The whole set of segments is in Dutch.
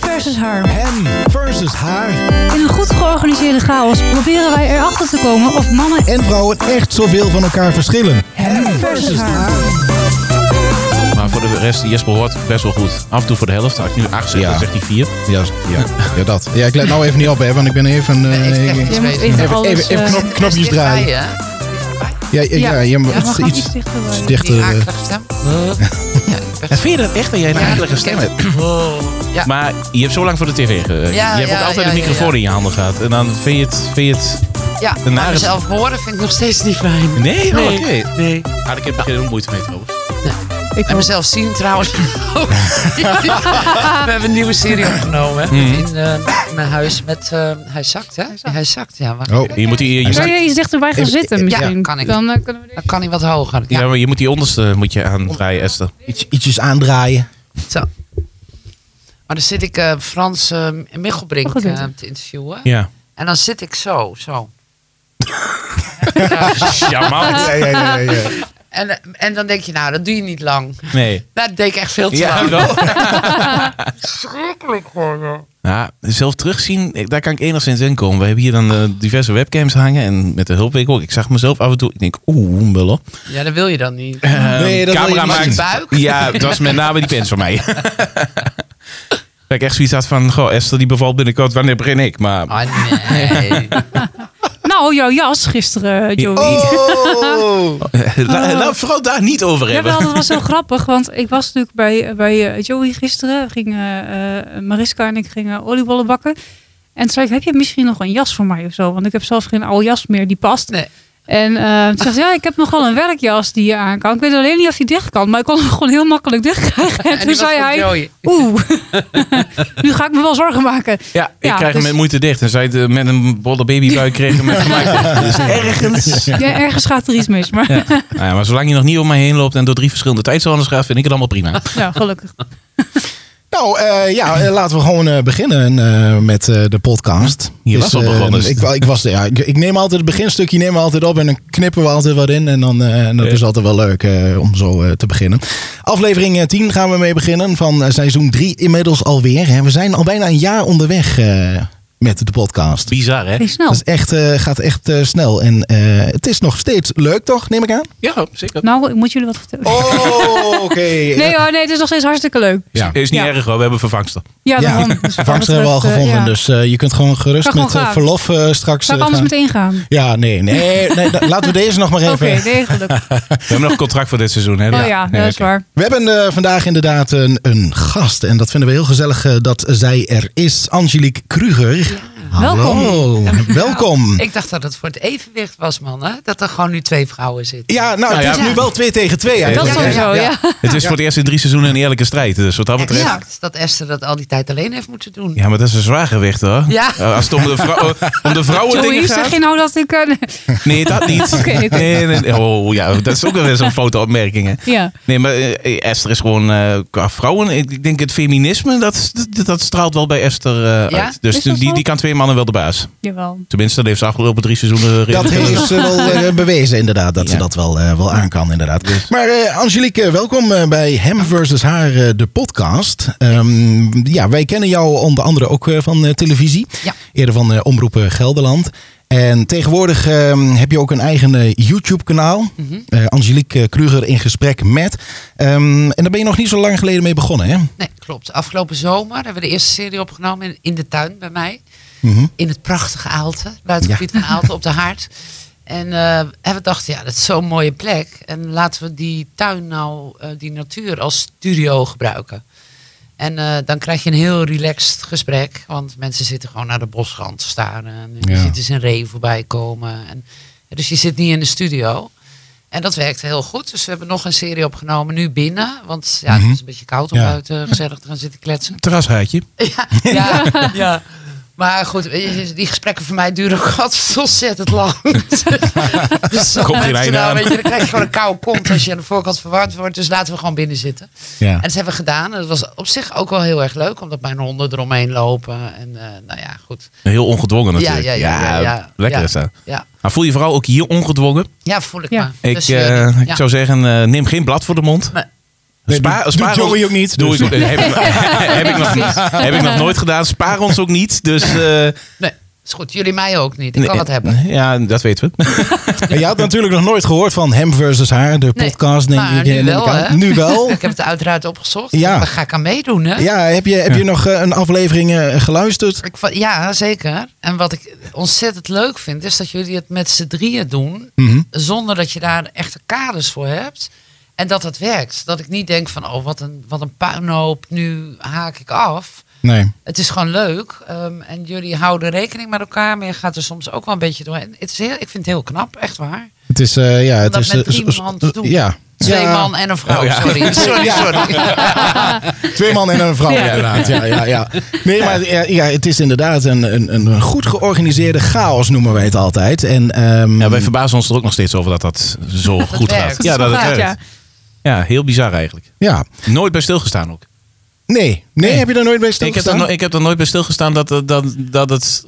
versus haar. Hem versus haar. In een goed georganiseerde chaos proberen wij erachter te komen of mannen en vrouwen echt zoveel van elkaar verschillen. Hem versus haar. Maar voor de rest, Jesper hoort best wel goed. Af en toe voor de helft. Als ik nu 8 zeg, Ja. dan zegt hij 4. Ja, ja, ja, dat. Ja, ik let nou even niet op, hè, want ik ben even... eh, ik zeg ik- iets Je moet beter. even Even- alles... even- even eh, knop- knopjes draaien. Dichtbij, hè? Ja, ja, ja, je moet ja, we gaan iets, iets dichterbij. dichter... Die eh, akelige stem. Ja, ik ben- En vind je dat echt dat jij een Ja, aardige ik stem heb- hebt? Ja. Maar je hebt zo lang voor de tv gewerkt. Ja, je hebt ja, ook altijd ja, een ja, microfoon ja. in je handen gehad. En dan vind je het... Vind je het... Ja, Een maar nare- mezelf horen vind ik nog steeds niet fijn. Nee, Nee. nee. nee. Nee. Ah, ik heb er geen moeite mee trouwens. Ik En ook. mezelf zien trouwens ook. We hebben een nieuwe serie opgenomen hè, in eh, mijn huis met... eh, hij zakt, hè? Hij zakt, ja. wacht. Oh, Je moet die, je, Zou moet- je iets dichterbij gaan Even- zitten ja, misschien? kan ik. Dan eh, kunnen we dit- Dan kan hij wat hoger. Nou, Ja, ja, maar je moet die onderste moet je aandraaien, Esther. iets, ietsjes aandraaien. zo. Maar dan zit ik eh, Frans eh, Michelbrink Oh, goed, eh, goed. te interviewen. Ja. En dan zit ik zo, zo. Ja, man. Ja, ja, ja, ja, ja. En, eh, en dan denk je, nou, dat doe je niet lang. Nee. Nou, dat deed ik echt veel te Ja, lang. wel. Schrikkelijk gewoon. joh. Ja, zelf terugzien, eh, daar kan ik enigszins in komen. We hebben hier dan eh, diverse webcams hangen en met de hulpwinkel. Ik zag mezelf af en toe, ik denk, oeh, een bullen. Ja, dat wil je dan niet. Eh, Nee, dat wil je camera niet. maakt. Buik? Ja, dat was met name die pens van mij. dat ik echt zoiets had van, goh, Esther die bevalt binnenkort, wanneer begin ik? Maar Ah, nee. Nou, jouw jas gisteren, Joey. Oh! eh, la- laat het vooral daar niet over hebben. Jawel, dat was heel grappig. Want ik was natuurlijk bij, bij eh, Joey gisteren. Gingen eh, Mariska en ik gingen oliebollen bakken. En toen zei ik, heb je misschien nog een jas voor mij of zo? Want ik heb zelf geen oude jas meer die past. Nee. En eh toen zei ze, ja, ik heb nog wel een werkjas die je aan kan. Ik weet alleen niet of die dicht kan. Maar ik kon hem gewoon heel makkelijk dicht krijgen. En, toen die was zei van hij, Joey. oeh, nu ga ik me wel zorgen maken. Ja, ik Ja, krijg hem dus- met moeite dicht. En zij het, eh, met een bolle babybuik kreeg hem gemaakt. Dus ergens. Ja, ergens gaat er iets mis. Maar ja, Nou ja, maar zolang je nog niet om mij heen loopt en door drie verschillende tijdzones gaat, vind ik het allemaal prima. gelukkig. Nou, eh, ja, eh, laten we gewoon eh, beginnen eh, met eh, de podcast. Je was al eh, begonnen. ik, wa- ik, was, ja, ik, ik neem altijd het beginstukje neem altijd op en dan knippen we altijd wat in. En dan, eh, en dat Ja. is altijd wel leuk eh, om zo eh, te beginnen. Aflevering eh, 10 gaan we mee beginnen van eh, seizoen 3 inmiddels alweer. En we zijn al bijna een jaar onderweg eh, met de podcast. Bizar, hè? Ging snel. Dat is echt, eh, gaat echt eh, snel. En eh, het is nog steeds leuk, toch? Neem ik aan? Ja, zeker. Nou, ik moet jullie wat vertellen. Oh, oké. Nee hoor, nee, het is nog steeds hartstikke leuk. Ja. Is niet Ja. erg hoor, we hebben vervangster. Ja, Ja, daarom. Dus De wat dat vangst hebben we al betreft, eh, gevonden. ja. Dus eh, je kunt gewoon gerust Kan gewoon met eh, gaan. verlof eh, straks. Zou ik eh, anders gaan. meteen gaan? Ja, nee, nee. nee da- laten we deze nog maar even. Oké, nee, gelukkig. We hebben nog een contract voor dit seizoen, hè? Oh ja, dat is oké. waar. We hebben eh, vandaag inderdaad een, een gast. En dat vinden we heel gezellig eh, dat zij er is. Angelique Kruger. Hallo. Welkom. Ik dacht dat het voor het evenwicht was, man. Hè? Dat er gewoon nu twee vrouwen zitten. Ja, nou, Nou het is ja. nu wel twee tegen twee. Dat eigenlijk. sowieso, ja. Het is voor het eerst in drie seizoenen een eerlijke strijd. Dus wat dat betreft. Ja, Exact. Dat Esther dat al die tijd alleen heeft moeten doen. maar dat is een zwaar gewicht hoor. Ja. Eh, Als het om de, vrou om de vrouwen Joey, dingen zeg gaat. je nou dat ik... eh, Nee, dat niet. Oké, oké. Nee, nee, nee. Oh ja, dat is ook wel weer zo'n foute opmerking. Hè. ja. Nee, maar eh, Esther is gewoon eh, qua vrouwen. Ik ik denk het feminisme, dat, dat, dat straalt wel bij Esther eh, Ja? uit. Dus Is dat die, zo? die kan twee mannen wel de baas. Jawel. Tenminste, dat heeft ze afgelopen drie seizoenen Dat redelijk heeft gedaan. ze wel eh, bewezen, inderdaad. Dat ze Ja. dat wel, eh, wel aan kan, inderdaad. Dus- Maar eh, Angelique, eh, welkom eh, bij Hem versus Haar, eh, de podcast. Ehm, ja, wij kennen jou onder andere ook eh, van eh, televisie. Ja. Eerder van eh, Omroep eh, Gelderland. En tegenwoordig ehm, heb je ook een eigen eh, YouTube-kanaal. Mhm. Eh, Angelique eh, Kruger in gesprek met. Ehm, en daar ben je nog niet zo lang geleden mee begonnen, hè? Nee, klopt. Afgelopen zomer hebben we de eerste serie opgenomen in, in de tuin bij mij. Mhm. In het prachtige Aalten. Buitengebied van Aalten op de Haard. En, eh, en we dachten, ja, dat is zo'n mooie plek. En laten we die tuin nou, eh, die natuur als studio gebruiken. En eh, dan krijg je een heel relaxed gesprek. Want mensen zitten gewoon naar de bosrand te staren. En je Ja. ziet eens een ree voorbij komen. En, dus je zit niet in de studio. En dat werkte heel goed. Dus we hebben nog een serie opgenomen, nu binnen. Want ja, het is een beetje koud om Mhm. Ja. buiten gezellig te gaan zitten kletsen. Terrashaatje. Ja, ja, ja. Maar goed, weet je, die gesprekken voor mij duren ook altijd ontzettend lang. dus dan Komt geen mensen einde dan, aan. weet je, dan krijg je gewoon een koude kont als je aan de voorkant verwarmd wordt. Dus laten we gewoon binnen zitten. Ja. En dat hebben we gedaan. En dat was op zich ook wel heel erg leuk, omdat mijn honden eromheen lopen. En eh, nou ja, goed. Heel ongedwongen Ja, natuurlijk. ja, ja, ja, ja. Lekker Ja. is dat. Ja, Maar voel je vooral ook hier ongedwongen? ja voel ik Ja. maar. Ik, Dus, eh, eh, ik ja. zou zeggen, eh, neem geen blad voor de mond. Maar- Nee, Spaar- doet- spaar doet Joey ons- ook niet, Doe dus- ik ook- heb, ik, heb, ik nog, niet- heb ik nog nooit gedaan. Spaar ons ook niet. Dus, eh, Nee, is goed. Jullie mij ook niet. Ik kan nee, het hebben. Ja, dat weten we. En je had natuurlijk nog nooit gehoord van hem versus haar, de Nee, podcast. Denk maar ik, eh, nu neem ik wel, aan. hè? Nu wel. Ik heb het uiteraard opgezocht. Ja. Daar ga ik aan meedoen, hè? Ja, heb je, heb je nog eh, een aflevering eh, geluisterd? Ik va- ja, zeker. En wat ik ontzettend leuk vind, is dat jullie het met z'n drieën doen. Mhm. Zonder dat je daar echte kaders voor hebt. En dat het werkt. Dat ik niet denk van, oh, wat een, wat een puinhoop. Nu haak ik af. Nee. Het is gewoon leuk. ehm, en jullie houden rekening met elkaar. Maar je gaat er soms ook wel een beetje doorheen. Het is heel, ik vind het heel knap, echt waar. Het is, eh, ja, het dat is... met eh, drie s- man s- doen. Ja. Twee Ja, man en een vrouw, Oh, ja. sorry. Sorry, sorry. Twee man en een vrouw, ja. inderdaad. Ja, ja, ja. Nee, maar ja, ja, het is inderdaad een, een, een goed georganiseerde chaos, noemen wij het altijd. En, ehm, Ja, nou, wij verbazen ons er ook nog steeds over dat dat zo goed werkt. gaat. Ja, dat het Ja. werkt. Ja, heel bizar eigenlijk. ja. Nooit bij stilgestaan ook. Nee. nee, heb je daar nooit bij Ik heb, stilgestaan? er, no- ik heb er nooit bij stilgestaan dat, dat, dat, dat het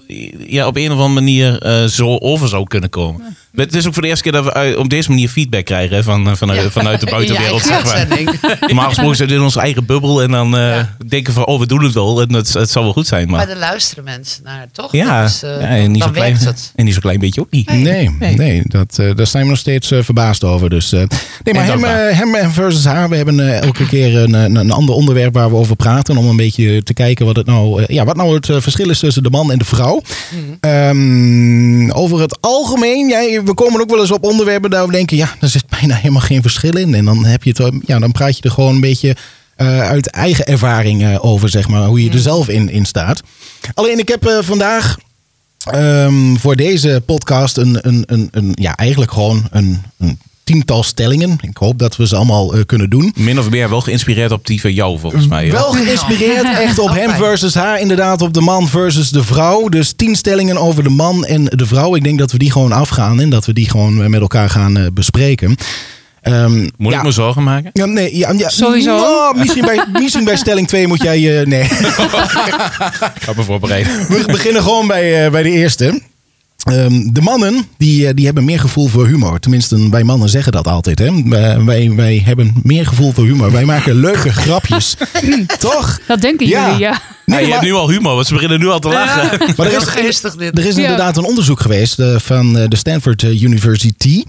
ja, op een of andere manier eh, zo over zou kunnen komen. Het is ook voor de eerste keer dat we uit- op deze manier feedback krijgen hè, van, vanuit, Ja. vanuit de In je buitenwereld. eigen Zeg maar. uitzending. Normaal gesproken zitten we in onze eigen bubbel en dan eh, denken we van oh we doen het wel en het, het zal wel goed zijn. Maar, Maar daar luisteren mensen naar, toch? ja, Dus, eh, ja, en, niet zo dan klein, werkt het. en niet zo klein beetje ook niet. Nee, nee. dat, eh, daar zijn we nog steeds eh, verbaasd over. Dus, eh, nee, maar En hem, dankbaar. eh, hem en versus haar, we hebben eh, elke keer een, een, een ander onderwerp waar we over praten. Om een beetje te kijken wat, het nou, eh, ja, wat nou het eh, verschil is tussen de man en de vrouw. Ehm, over het algemeen, jij, we komen ook wel eens op onderwerpen daar we denken, ja, daar zit bijna helemaal geen verschil in. En dan, heb je het, eh, ja, dan praat je er gewoon een beetje eh, uit eigen ervaring eh, over, zeg maar, hoe je er zelf in, in staat. Alleen ik heb eh, vandaag Ehm, voor deze podcast een, een, een, een ja, eigenlijk gewoon een, een tiental stellingen. Ik hoop dat we ze allemaal eh, kunnen doen. Min of meer wel geïnspireerd op die van jou volgens mij. ja. Oh, Wel geïnspireerd echt op hem Oké. versus haar. Inderdaad, op de man versus de vrouw. Dus tien stellingen over de man en de vrouw. Ik denk dat we die gewoon afgaan en dat we die gewoon eh, met elkaar gaan eh, bespreken. Ehm, Moet ja. ik me zorgen maken? Ja, nee, ja, ja, Sowieso. nou, misschien, bij, misschien bij stelling 2 moet jij... eh, nee. Ik ga me voorbereiden. We beginnen gewoon bij, eh, bij de eerste. Ehm, de mannen die, eh, die hebben meer gevoel voor humor. Tenminste, wij mannen zeggen dat altijd. Hè? Eh, wij, wij hebben meer gevoel voor humor. Wij maken leuke grapjes. Toch? Dat denken Ja. jullie, ja. Ja, je hebt nu al humor, want ze beginnen nu al te lachen. Maar er Heel is, geestig dit. er is Ja. inderdaad een onderzoek geweest eh, van eh, de Stanford eh, University.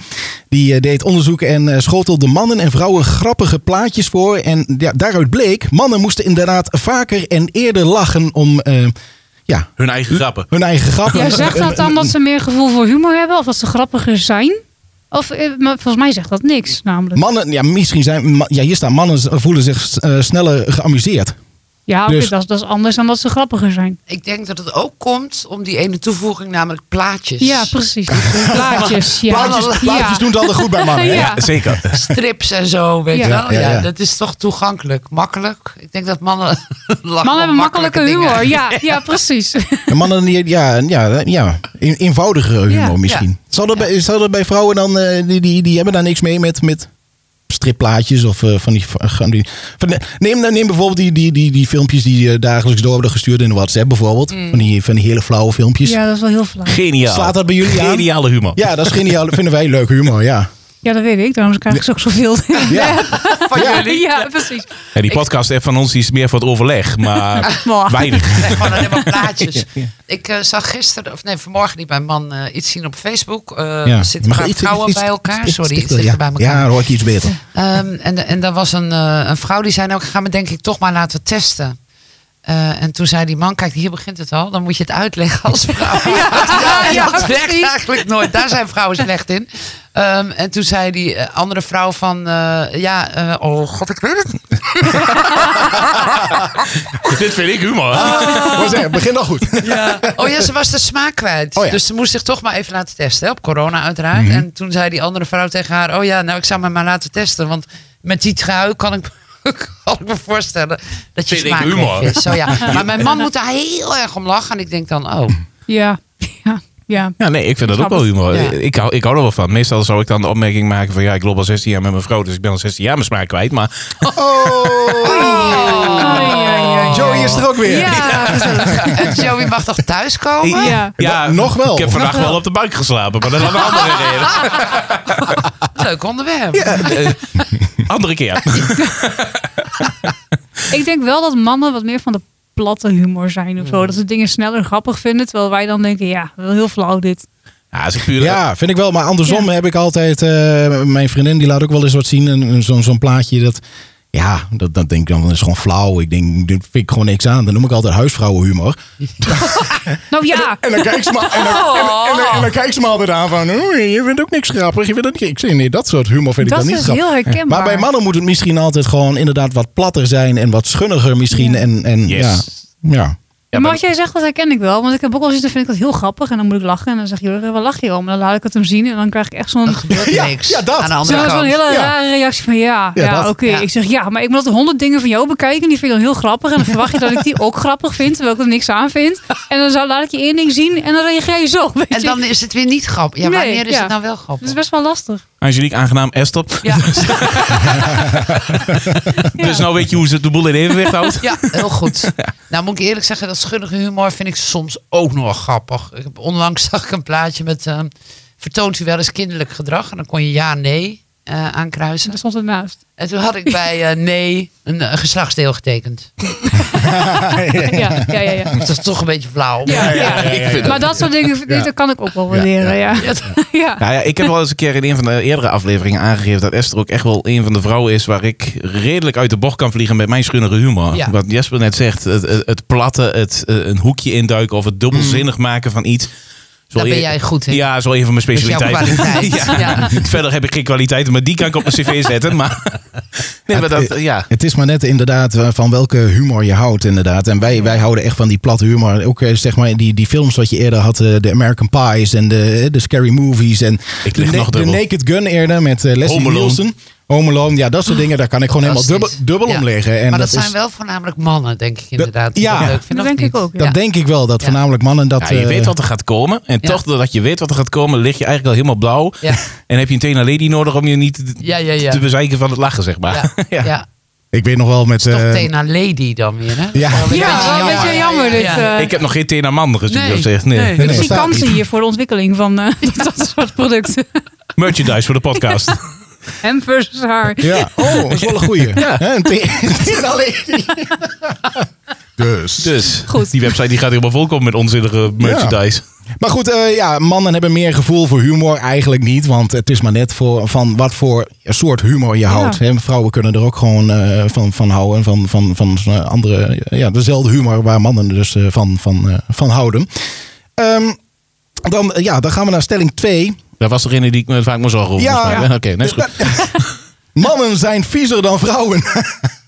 Die eh, deed onderzoek en eh, schotelde mannen en vrouwen grappige plaatjes voor. En ja, daaruit bleek, mannen moesten inderdaad vaker en eerder lachen om eh, ja, Hun eigen grappen. hun eigen grappen. Eh, Ja, zegt dat dan dat ze meer gevoel voor humor hebben? Of dat ze grappiger zijn? Of, eh, maar volgens mij zegt dat niks, namelijk. Mannen, ja, misschien zijn. ma- Ja, hier staan mannen z- voelen zich eh, sneller geamuseerd. Ja, oké, dus- dat, is- dat is anders dan dat ze grappiger zijn. Ik denk dat het ook komt om die ene toevoeging, namelijk plaatjes. Ja, precies. Plaatjes. Ja. Plaatjes, plaatjes Ja. doen het altijd goed bij mannen. hè? Ja. Zeker. Strips en zo, weet Ja. je wel. Ja, Ja, ja, ja. Dat is toch toegankelijk, makkelijk. Ik denk dat mannen lachen om Mannen hebben makkelijke dingen. humor. Ja, ja, precies. En Mannen, die- ja, ja, ja een- eenvoudigere humor Ja. misschien. Zal dat, bij, zal dat bij vrouwen dan, eh, die, die, die hebben daar niks mee met, met stripplaatjes of eh, van die... Van die van, neem, neem bijvoorbeeld die, die, die, die filmpjes die eh, dagelijks door worden gestuurd in WhatsApp bijvoorbeeld. Van, die, van die hele flauwe filmpjes. Ja, Mm. Ja, dat is wel heel flauw. Geniaal. Slaat dat bij jullie aan? Geniale humor. dat is geniaal. vinden wij leuk humor, ja. Ja, dat weet ik. Daarom krijg ik ze ook zoveel. Ja, Van Ja. jullie? Ja, precies. Ja, die podcast app van ons die is meer voor het overleg, maar Mwah. weinig. Nee, gewoon alleen maar plaatjes. Ik eh, zag gisteren, of nee, vanmorgen liet mijn man eh, iets zien op Facebook. Eh, ja. Er zitten een paar vrouwen bij elkaar. Sorry, iets dichter ja. bij elkaar. Ja, dan hoor ik iets beter. Ehm, en, en daar was een, eh, een vrouw die zei, nou ik ga me denk ik toch maar laten testen. Eh, en toen zei die man, kijk hier begint het al, dan moet je het uitleggen als vrouw. ja, ja, dat werkt precies. eigenlijk nooit, daar zijn vrouwen slecht in. Ehm, en toen zei die eh, andere vrouw van, eh, ja, eh, oh god, ik weet het niet. Dit vind ik humor. Maar zeg, begin al goed. Oh ja, ze was de smaak kwijt. Oh ja. Mhm. Dus ze moest zich toch maar even laten testen, hè, op corona uiteraard. En toen zei die andere vrouw tegen haar, oh ja, nou ik zou me maar laten testen. Want met die trui kan ik, kan ik me voorstellen dat je Vind ik smaak humor. weg is. Zo, ja. Maar mijn man moet daar heel erg om lachen. En ik denk dan, oh, Ja. Ja. Ja. Ja, nee, ik vind dat ook Snap wel het. humor. Ja. Ik, hou, ik hou er wel van. Meestal zou ik dan de opmerking maken van ja, ik loop al 16 jaar met mijn vrouw, dus ik ben al 16 jaar mijn smaak kwijt. Maar Oh, ja, ja, ja. Joey is er ook weer. Ja, gezellig. En Joey mag toch thuiskomen? Ja. Nog wel. Ik heb vandaag wel op de bank geslapen, maar dat had een andere reden. leuk onderwerp. Ja, eh, andere keer. Ik denk wel dat mannen wat meer van de platte humor zijn of zo. Dat ze dingen sneller grappig vinden. Terwijl wij dan denken, ja, wel heel flauw dit. Ja, is een pure... Ja, vind ik wel. Maar andersom heb ik altijd... eh, mijn vriendin die laat ook wel eens wat zien. een- een- Zo'n zo'n plaatje dat... Ja, dat, dat denk ik dan, dat is gewoon flauw. Ik denk, dit vind ik gewoon niks aan. Dan noem ik altijd huisvrouwenhumor. Nou ja, En dan kijkt ze maar, en dan, en, en, en, en dan kijkt ze me altijd aan van... "Oeh, je vindt ook niks grappig. Je vindt ook niks. Ik zeg, nee, dat soort humor vind ik dat dan niet is grappig. heel herkenbaar. Maar bij mannen moet het misschien altijd gewoon inderdaad wat platter zijn. En wat schunniger misschien. Ja. En, en Yes. ja, ja. Ja, maar maar- wat jij zegt, dat herken ik wel. Want ik heb ook al eens, dan vind ik dat heel grappig. En dan moet ik lachen. En dan zeg je, "Jurgen, waar lach je om? En dan laat ik het hem zien. En dan krijg ik echt zo'n... Er gebeurt Ja, niks. ja, dat. Aan de andere Zo'n kant. zo'n hele Ja. rare reactie van ja, Ja, ja, dat. oké. Ja. Ik zeg ja, maar ik moet dat honderd dingen van jou bekijken. Die vind ik dan heel grappig. En dan verwacht je dat ik die ook grappig vind, terwijl ik er niks aan vind. En dan zou, laat ik je één ding zien en dan reageer je zo. Weet En je. dan is het weer niet grappig. Ja, Nee, wanneer is ja. het nou wel Dat is grappig? best wel lastig. Angelique, aangenaam, Estop. Ja, Dus nou weet je hoe ze de boel in evenwicht houdt. ja, heel goed. Nou moet ik eerlijk zeggen, dat schunnige humor vind ik soms ook nog wel grappig. Ik heb, onlangs zag ik een plaatje met... ehm, vertoont u wel eens kinderlijk gedrag? En dan kon je ja, nee eh, aankruisen. Daar stond het naast. En toen had ik bij eh, nee een eh, geslachtsdeel getekend. Ja, ja, ja. ja, ja. Dat is toch een beetje flauw. ja, Ik vind Maar dat soort dingen, Ja. dat kan ik ook wel waarderen. Ja, ja. Nou ja, ik heb wel eens een keer in een van de eerdere afleveringen aangegeven dat Esther ook echt wel een van de vrouwen is waar ik redelijk uit de bocht kan vliegen met mijn schunnere humor. Ja. Wat Jesper net zegt, het, het, het platte, het eh, een hoekje induiken of het dubbelzinnig maken van iets. Zo Daar ben e- jij goed in. Ja, zo even mijn Dat is jouw specialiteit. kwaliteit. Ja. Verder heb ik geen kwaliteiten, maar die kan ik op mijn cv zetten. Maar, nee, maar dat, eh, ja. Het is maar net inderdaad eh, van welke humor je houdt inderdaad. En wij, wij houden echt van die platte humor. Ook eh, zeg maar die, die films wat je eerder had. eh, De American Pies en de, eh, de Scary Movies. En Ik de, lig nog de dubbel. Naked Gun eerder met eh, Leslie Home Alone. Nielsen. Home Alone. Ja, dat soort dingen. Daar kan ik gewoon helemaal dubbel, Fantastisch. dubbel Ja. om liggen. En maar dat, is- zijn wel voornamelijk mannen, denk ik inderdaad. die ja. dat leuk vinden, Dat of denk ik niet? ook, ja. Dat denk ik wel. Dat Ja. voornamelijk mannen dat... Ja, je eh, weet wat er gaat komen. En Ja. toch doordat je weet wat er gaat komen, lig je eigenlijk al helemaal blauw. Ja. En heb je een tena lady nodig om je niet te- Ja, ja, ja. te bezeiken van het lachen, zeg maar. Ja. Ja. Ik weet nog wel met... Toch eh, Tena Lady dan weer, hè? Ja. Wel een Ja, beetje wel een beetje jammer dit. Ja. eh. Ik heb nog geen tena man gezien. Nee. op zich, nee. Nee. Ik Nee, zie bestaat kansen niet. hier voor de ontwikkeling van eh, dat soort producten. Merchandise voor de podcast. Hem versus haar. Ja, oh, dat is wel een goeie. Ja. Hè, een te- dus. dus Goed. die website die gaat helemaal volkomen met onzinnige merchandise. Maar goed, eh, ja, mannen hebben meer gevoel voor humor. Eigenlijk niet, want het is maar net voor, van wat voor soort humor je houdt. Hè, vrouwen kunnen er ook gewoon eh, van, van houden. Van, van, van eh, andere, ja, dezelfde humor waar mannen dus eh, van, van, eh, van houden. Ehm, dan, eh, ja, dan gaan we naar stelling 2. Daar was degene die ik me vaak moest zorgen over. Ja. moest maken. Ja. Oké, nee, is goed. Mannen zijn viezer dan vrouwen.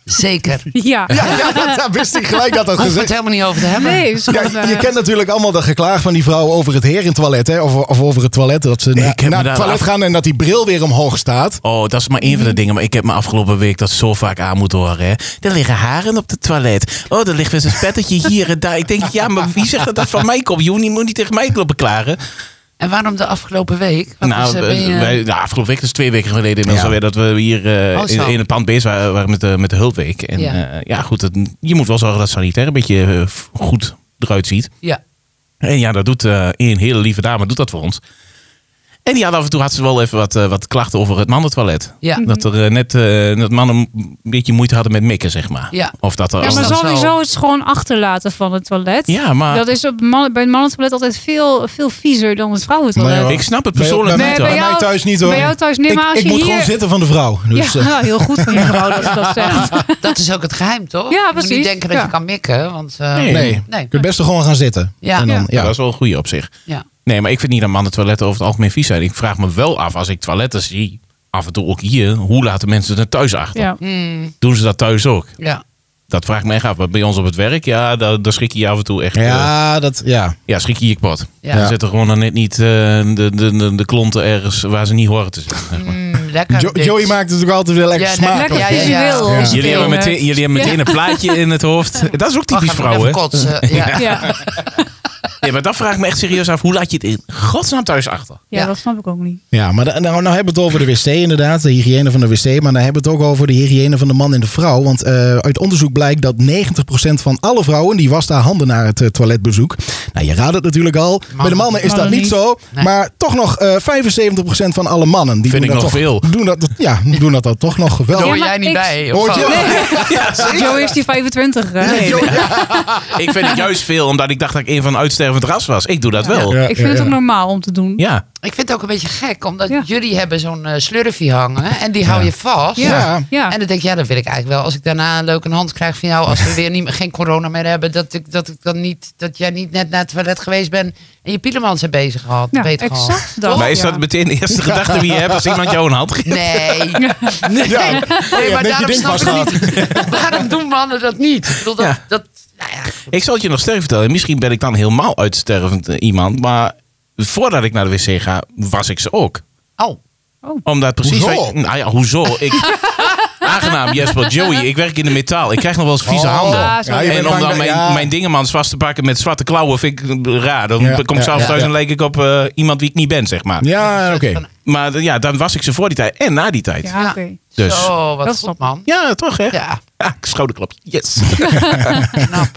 Zeker. Ja. ja, ja, dat, dat wist ik gelijk dat dat Hoef gezegd het helemaal niet over te hebben. Nee, is Ja, gewoon, eh, je kent natuurlijk allemaal dat geklaag van die vrouw over het herentoilet. Hè? Of, of over het toilet. Dat ze na- heb me naar daar het toilet af- gaan en dat die bril weer omhoog staat. Oh, dat is maar één van de dingen. Maar ik heb me afgelopen week dat zo vaak aan moeten horen. Hè. Er liggen haren op het toilet. Oh, er ligt weer een spettertje hier en daar. Ik denk, ja, maar wie zegt dat dat van mij komt? Je moet niet- moet niet tegen mij kloppen klaren. En waarom de afgelopen week? Want Nou, dus, eh, ben je- wij, nou, afgelopen week, dus twee weken geleden inmiddels Ja. alweer, dat we hier eh, Oh, zo. in, in het pand bezig waren, waren met, de, met de hulpweek. En Ja. ja, ja goed, het- je moet wel zorgen dat het sanitair een beetje eh, f- goed eruit ziet. ja. En ja, dat doet eh, een hele lieve dame, doet dat voor ons. En die had af en toe had ze wel even wat, eh, wat klachten over het mannentoilet. Ja. Dat er eh, net eh, dat mannen een beetje moeite hadden met mikken, zeg maar. Ja. Of dat er, Ja, als- maar dat zo- sowieso is het gewoon achterlaten van het toilet. ja, maar Dat is op mannen, bij het mannentoilet altijd veel, veel viezer dan het vrouwentoilet. Maar ja, ik snap het Bij- persoonlijk bij niet mij- hoor. Bij mij jou- thuis niet hoor. bij jou thuis niet, ik maar als ik je moet hier- gewoon zitten van de vrouw. Dus, ja, eh, nou, heel goed van je vrouw dat ze dat zegt. Dat is ook het geheim, toch? Ja, Je moet precies. niet denken dat Ja. je kan mikken, want... eh, Nee. nee, je Nee. kunt best wel gewoon gaan zitten. Ja. En dan, Ja, ja. dat is wel een goede op zich. Ja. Nee, maar ik vind niet dat mannen toiletten over het algemeen vies zijn. Ik vraag me wel af, als ik toiletten zie, af en toe ook hier, hoe laten mensen het thuis achter? Ja. Hmm, Doen ze dat thuis ook? ja. Dat vraag ik me echt af. Maar bij ons op het werk, ja, daar, daar schrik je je af en toe echt. eh, Ja, dat, ja. ja schrik je je kapot. Ja. Dan zitten gewoon dan net niet eh, de, de, de, de klonten ergens waar ze niet horen te zitten. zeg maar. Hmm, lekker. Jo- dit. Joey maakt het natuurlijk altijd weer lekker Ja, smaak. Lekker Ja, ja, ja. visueel. Ja. is het Jullie, hebben heel erg. meteen, jullie hebben meteen een plaatje in het hoofd. Dat is ook typisch Oh, ga ik nog vrouwen. even kotsen. Ja. Ja. Nee, maar dan vraag ik me echt serieus af, hoe laat je het in godsnaam thuis achter? Ja, Ja. dat snap ik ook niet. Ja, maar da- nou, nou hebben we het over de wc inderdaad, de hygiëne van de wc. Maar dan hebben we het ook over de hygiëne van de man en de vrouw. Want eh, uit onderzoek blijkt dat 90% van alle vrouwen... die wast haar handen na het eh, toiletbezoek. Nou, je raadt het natuurlijk al. Bij de mannen is Mannen dat niet, niet. zo. Nee. Maar toch nog eh 75% van alle mannen. Die Vind doen ik dat nog toch, veel. Doen dat, ja, doen dat dan toch nog Daar geweldig. hoor Ja, jij maar niet ik- bij. of Hoort wat? je? Joe is die 25. hè? Nee, nee. ik vind het juist veel, omdat ik dacht dat ik een van de uitstervend ras was. Ik doe dat wel. Ja, Ja. ik vind ja, het ja. ook normaal om te doen. Ik vind het ook een beetje gek, omdat Ja. jullie hebben zo'n eh, slurfie hangen en die hou je vast. Ja. Ja. Ja. En dan denk ik, ja, dat wil ik eigenlijk wel. Als ik daarna een leuke hand krijg van jou, als we weer niet, meer- geen corona meer hebben, dat, ik, dat, ik dan niet, dat jij niet net naar het toilet geweest bent en je pielemans hebt bezig gehad. Ja, beter gehad. exact dat. Maar is dat Ja. meteen de eerste gedachte die je hebt als iemand jou een hand geeft? Nee. nee. Ja. Nee, je maar daarom ding snap ik vastgehad. niet. Waarom doen mannen dat niet? Ik bedoel, dat, Ja. dat, nou ja, Ik zal het je nog sterk vertellen. Misschien ben ik dan helemaal uitstervend eh, iemand. Maar voordat ik naar de wc ga, was ik ze ook. oh, Omdat precies... Hoezo? wat je- nou ja, hoezo? Ik, aangenaam, Jesper, Joey. Ik werk in de metaal. Ik krijg nog wel eens vieze Oh. handen. Ja, zo. Ja, je bent en om bang dan dat- mijn, ja. mijn dingemans vast te pakken met zwarte klauwen vind ik eh, raar. Dan Ja, kom ja, ik s'avonds ja, thuis ja. en leek ik op eh, iemand wie ik niet ben, zeg maar. Ja, oké. van- Maar eh, ja, dan was ik ze voor die tijd en na die tijd. Ja, oké. Dus. zo, wat Dat goed snap ik. man. Ja, toch hè? Ja. Ja, Ah, schouderklap. Yes. knap.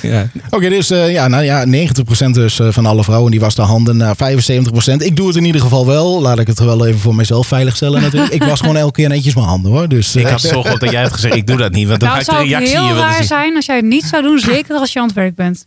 ja. Oké, dus eh, ja, nou ja, 90% dus, eh, van alle vrouwen die was de handen. Nou, 75%. Ik doe het in ieder geval wel. Laat ik het wel even voor mezelf veiligstellen natuurlijk. ik was gewoon elke keer netjes mijn handen hoor. Dus, eh, Ik had zo gehoopt dat jij had gezegd, ik doe dat niet. Want dan Nou, het ga ik zou de ook reactie heel hier willen raar zien. zijn als jij het niet zou doen, zeker als je aan het werk bent.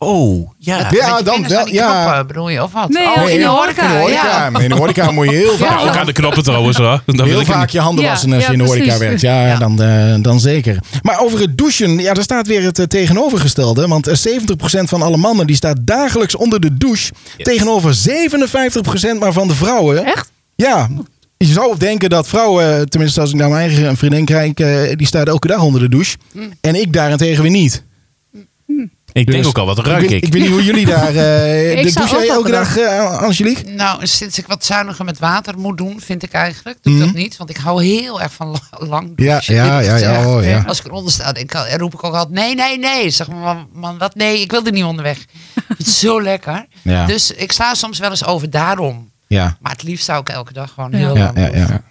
Oh, ja. Ja, Met je dan vingers wel, aan die ja. knoppen, bedoel je, of wat? Nee, oh, ja, in de ja. horeca. in de horeca. Ja. In de horeca moet je heel vaak, Ja, ook aan de knoppen trouwens hoor. Dan wil heel ik het vaak niet. je handen Ja, wassen als ja, je in de horeca precies. werkt. Ja, Ja. Dan, eh, dan zeker. Maar over het douchen, ja, daar staat weer het eh, tegenovergestelde. Want eh, 70% van alle mannen die staat dagelijks onder de douche. Tegenover 57% maar van de vrouwen. Echt? Ja, je zou denken dat vrouwen, eh, tenminste als ik naar mijn eigen vriendin kijk, eh, die staat elke dag onder de douche. Mm. En ik daarentegen weer niet. Ik denk Dus- ook al, wat ruik weet- ik? weet niet hoe jullie daar... eh Ik de- zou douche ook jij elke elke dag, eh, Angelique? Nou, sinds ik wat zuiniger met water moet doen, vind ik eigenlijk. Doe ik dat niet, want ik hou heel erg van la- lang Mhm. Ja, douchen, ja, eerlijk ja, gezegd. ja, oh, ja. Als ik eronder sta, denk ik, al- roep ik ook altijd nee, nee, nee. Zeg maar, man, man, wat nee, ik wil er niet onderweg. Het is zo lekker. Ja. Dus ik sla soms wel eens over daarom. Ja. Maar het liefst zou ik elke dag gewoon Ja. heel Ja, lang ja, douchen.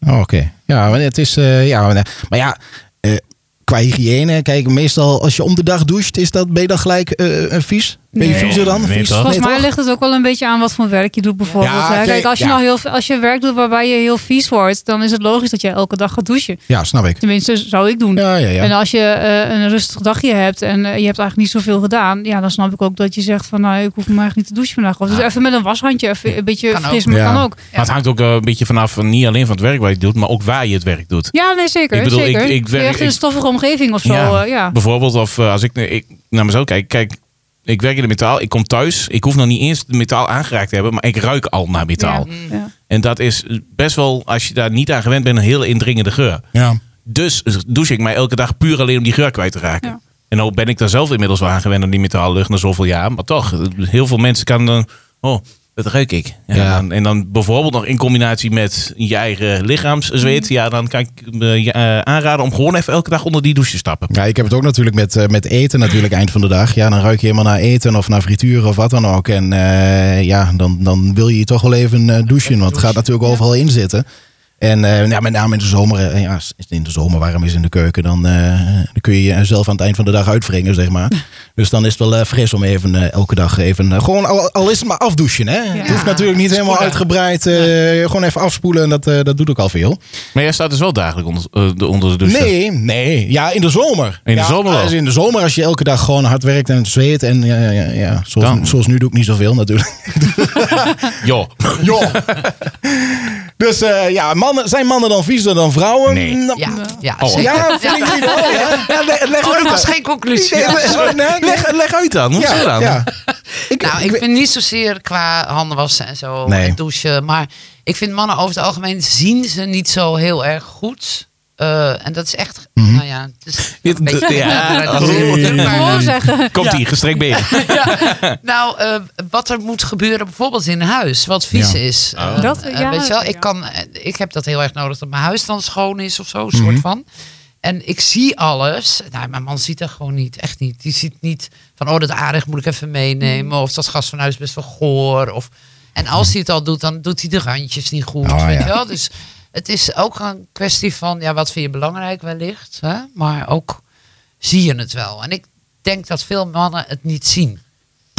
ja. Oh, Oké. Ja, maar het is. eh, ja, maar, maar ja. eh, qua hygiëne, kijk, meestal als je om de dag doucht, is dat, ben je dan gelijk eh, eh, vies? Ben je Nee. viezer dan? Nee, Vies? toch? Volgens mij toch? ligt het ook wel een beetje aan wat voor werk je doet bijvoorbeeld. Ja, hè. oké, Kijk, als je, ja. nou heel, als je werk doet waarbij je heel vies wordt, dan is het logisch dat je elke dag gaat douchen. Ja, snap ik. Tenminste, zou ik doen. Ja, ja, ja. En als je eh, een rustig dagje hebt en eh, je hebt eigenlijk niet zoveel gedaan, ja, dan snap ik ook dat je zegt van, nou, ik hoef me eigenlijk niet te douchen vandaag. Of dus even met een washandje, even een beetje Kan ook. fris, maar Ja. kan ook. Maar het hangt ook eh, een beetje vanaf, van niet alleen van het werk wat je doet, maar ook waar je het werk doet. Ja, nee, zeker. Ik bedoel, zeker. ik- ik Je werk- echt in een ik- stoffige omgeving of zo. Ja. eh, ja. Bijvoorbeeld, of eh, als ik, ik naar mezelf kijk, kijk, ik werk in de metaal, ik kom thuis, ik hoef nog niet eens de metaal aangeraakt te hebben, maar ik ruik al naar metaal. Ja. Ja. En dat is best wel, als je daar niet aan gewend bent, een hele indringende geur. Ja. Dus douche ik mij elke dag puur alleen om die geur kwijt te raken. Ja. En nou ben ik daar zelf inmiddels wel aan gewend aan die metaallucht na zoveel jaar. Maar toch, heel veel mensen kan dan... Oh, dat ruik ik. Ja, Ja. Dan, en dan bijvoorbeeld nog in combinatie met je eigen lichaamsweet. Ja, dan kan ik me je, eh, aanraden om gewoon even elke dag onder die douche te stappen. Ja, ik heb het ook natuurlijk met, eh, met eten natuurlijk eind van de dag. Ja, dan ruik je helemaal naar eten of naar frituur of wat dan ook. En eh, ja, dan, dan wil je toch wel even eh, douchen, want het gaat natuurlijk overal in zitten. En eh, ja, met name in de zomer, eh, ja, als het in de zomer warm is in de keuken, dan, eh, dan kun je jezelf aan het eind van de dag uitwringen, zeg maar. Dus dan is het wel eh, fris om even eh, elke dag even, eh, gewoon al, al is het maar afdouchen, hè. Het hoeft natuurlijk niet helemaal Spoelen. uitgebreid, eh, gewoon even afspoelen en dat, eh, dat doet ook al veel. Maar jij staat dus wel dagelijks onder, eh, de- onder de douche. Nee, nee. Ja, in de zomer. eh, In Ja, de zomer wel. als in de zomer, als je elke dag gewoon hard werkt en zweet. En ja, ja, ja, ja. Zoals, Dan. zoals nu doe ik niet zoveel natuurlijk. Joh. Joh. dus eh, ja, mannen, zijn mannen dan viezer dan vrouwen? Nee. Nou, Ja, ja, Oh. zeker. Ja, vind ik niet wel. hè? Ja, le- leg Oh, dat uit was dan. geen conclusie. Nee, le- sorry, nee, nee. Leg, leg uit dan. Hoe Ja, zo dan? ja. Ik, Nou, ik vind niet zozeer qua handen wassen en zo, Nee. en douchen. Maar ik vind mannen over het algemeen zien ze niet zo heel erg goed. Eh, en dat is echt, Mhm. nou ja, het is Dit- een beetje... ja. dat is- Oeh. maar- Gewoon zeggen. Komt hier, gestrekt been. nou, eh, wat er moet gebeuren bijvoorbeeld in huis, wat vies Ja. Oh. is. Eh, Dat, eh, ja, weet je wel, ja. Mhm. ik, kan, eh, ik heb dat heel erg nodig dat mijn huis dan schoon is of zo, een soort van. En ik zie alles. Nou, mijn man ziet dat gewoon niet. Echt niet. Die ziet niet van, oh, dat aardig moet ik even Mhm. meenemen. Of dat gas van huis is best wel goor. Of... En als hij het al doet, dan doet hij de randjes niet goed. Mhm. Oh, weet ja. je wel? Dus het is ook een kwestie van, ja, wat vind je belangrijk wellicht. Hè? Maar ook zie je het wel. En ik denk dat veel mannen het niet zien.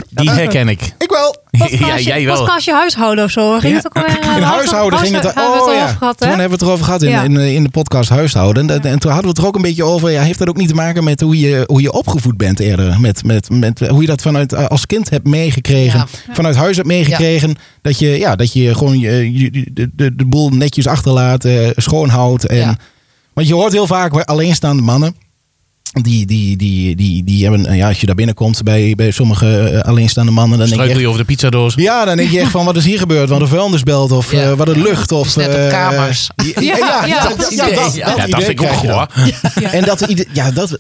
Die herken ik. Ik wel. Ja, Podcastje, jij wel. podcastje huishouden of zo. Ging Ja. het ook eh, alweer? In huishouden ging het. Hebben we het Oh al ja, over gehad, toen hè? hebben we het erover gehad in, Ja. in, in de podcast Huishouden. En, dat- en toen hadden we het er ook een beetje over. Ja, heeft dat ook niet te maken met hoe je, hoe je opgevoed bent eerder? Met, met, met hoe je dat vanuit eh, als kind hebt meegekregen. Vanuit huis hebt meegekregen. Dat, je, ja, dat je gewoon eh, je, je- de, de, de boel netjes achterlaat, eh, schoonhoudt. En, Ja. Want je hoort heel vaak bij alleenstaande mannen. Die, die, die, die, die hebben, eh, ja, als je daar binnenkomt bij, bij sommige eh, alleenstaande mannen, dan denk je echt, Struikel je over de pizzadoos. ja, dan denk je echt van wat is hier gebeurd? Want de vuilnis belt of Ja. eh, wat de lucht of net op eh, kamers. Ja, ja, Ja, ja, dat- dat ja, idee. dat- Ja, dat Ja, idee dat vind ik ook krijg je hoor. dan. En dat idee- ja, dat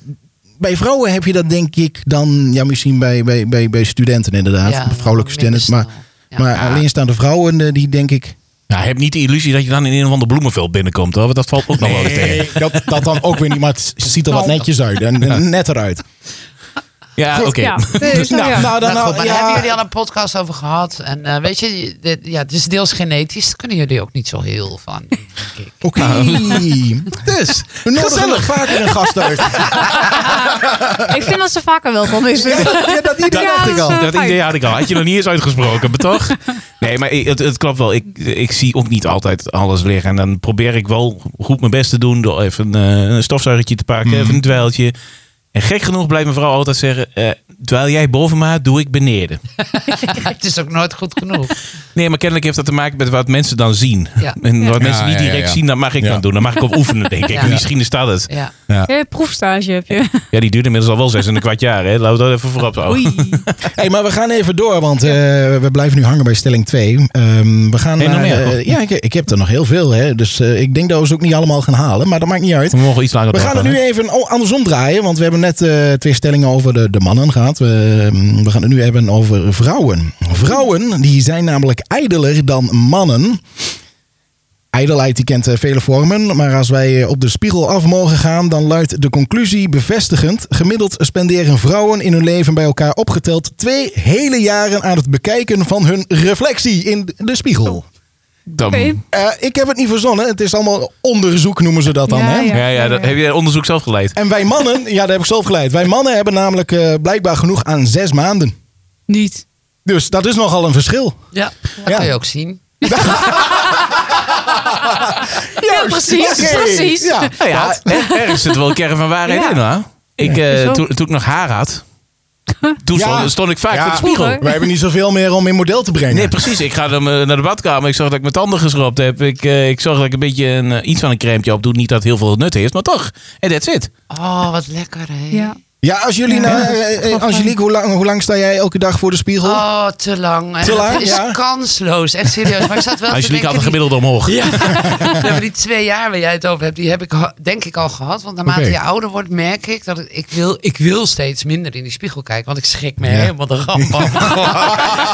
bij vrouwen heb je dat denk ik dan ja misschien bij bij bij, bij studenten inderdaad, Ja, vrouwelijke minder studenten, maar snel. Ja. maar alleenstaande vrouwen eh, die denk ik Ja, Nou, heb niet de illusie dat je dan in een of ander bloemenveld binnenkomt hoor. Want dat valt ook nog wel eens tegen. Oh, dat, dat dan ook weer niet, maar het ziet er wat netjes uit en en netter uit. Ja, oké. Ja, nee, zo, ja. Nou, nou, dan Nou, nou, goed, maar daar hebben ja. jullie al een podcast over gehad. En eh, weet je, je- dit- ja, het is deels genetisch. Daar kunnen jullie ook niet zo heel van. denk ik. Oké, dus we nodigen vaker een gast uit. Ik vind dat ze vaker wel van is. Ja, dat idee Ja, dacht dat ik is, al. eh, Dat idee had ik al. Had je nog niet eens uitgesproken, maar toch? Nee, maar ik- het, het klopt wel. Ik, ik zie ook niet altijd alles liggen. En dan probeer ik wel goed mijn best te doen door even eh, een stofzuigertje te pakken, Mhm. even een dweiltje. En gek genoeg blijft mijn vrouw altijd zeggen, eh dweil jij boven me, doe ik beneden. het is ook nooit goed genoeg. Nee, maar kennelijk heeft dat te maken met wat mensen dan zien. Ja. En wat Ja, mensen niet ja, direct ja. zien, dat mag ik Ja. dan doen. Dan mag ik op oefenen, denk ik. Ja. Misschien is dat het. Ja. Ja, proefstage heb je. Ja, die duurt inmiddels al wel zes en een kwart jaar. Hè. Laten we dat even voorop houden. Oei. Hey, maar we gaan even door, want eh, we blijven nu hangen bij stelling 2. we gaan Heb je nog naar, meer? eh, ja, ik, ik heb er nog heel veel, hè, dus eh, ik denk dat we ze ook niet allemaal gaan halen, maar dat maakt niet uit. We mogen iets langer We gaan het doorgaan, nu hè. even o- andersom draaien, want we hebben net eh, twee stellingen over de, de mannen gehad. We, mm, we gaan het nu hebben over vrouwen. Vrouwen die zijn namelijk ijdeler dan mannen. Ijdelheid die kent eh, vele vormen, maar als wij eh, op de spiegel af mogen gaan, dan luidt de conclusie bevestigend. Gemiddeld spenderen vrouwen in hun leven bij elkaar opgeteld twee hele jaren aan het bekijken van hun reflectie in de spiegel. Dan- Oké. Eh, ik heb het niet verzonnen, het is allemaal onderzoek noemen ze dat dan. Ja, hè? ja. Ja, ja, dat, heb jij onderzoek zelf geleid? En wij mannen, ja, dat heb ik zelf geleid. Wij mannen hebben namelijk eh, blijkbaar genoeg aan zes maanden. Niet. Dus dat is nogal een verschil. Ja. Dat Ja. kun je ook zien. Ja, precies. Oké, precies. Ja. Nou ja, er- ergens zit wel een kern van waarheid Ja. in, hoor. Ik, eh, Is ook- toen, toen ik nog haar had, toen Ja. stond, stond ik vaak Ja. voor de spiegel. Vroeger. Wij hebben niet zoveel meer om in model te brengen. Nee, precies. Ik ga dan, eh, naar de badkamer. Ik zag dat ik mijn tanden geschrapt heb. Ik, eh, ik zag dat ik een beetje een, eh, iets van een crème op doe. Niet dat het heel veel nut heeft, maar toch. En that's it. Oh, wat lekker hè. Ja. ja, als jullie Ja. nou, eh, eh, Angelique, hoe lang, hoe lang sta jij elke dag voor de spiegel? Oh, te lang. En Te lang, Het is ja. kansloos. Echt serieus. Maar ik zat wel te Angelique had denken, een gemiddelde omhoog. die, we hebben die twee jaar waar jij het over hebt, die heb ik ha- denk ik al gehad. Want naarmate Oké. je ouder wordt, merk ik dat ik, ik, wil, ik wil steeds minder in die spiegel kijken. Want ik schrik me Ja. helemaal de grap van.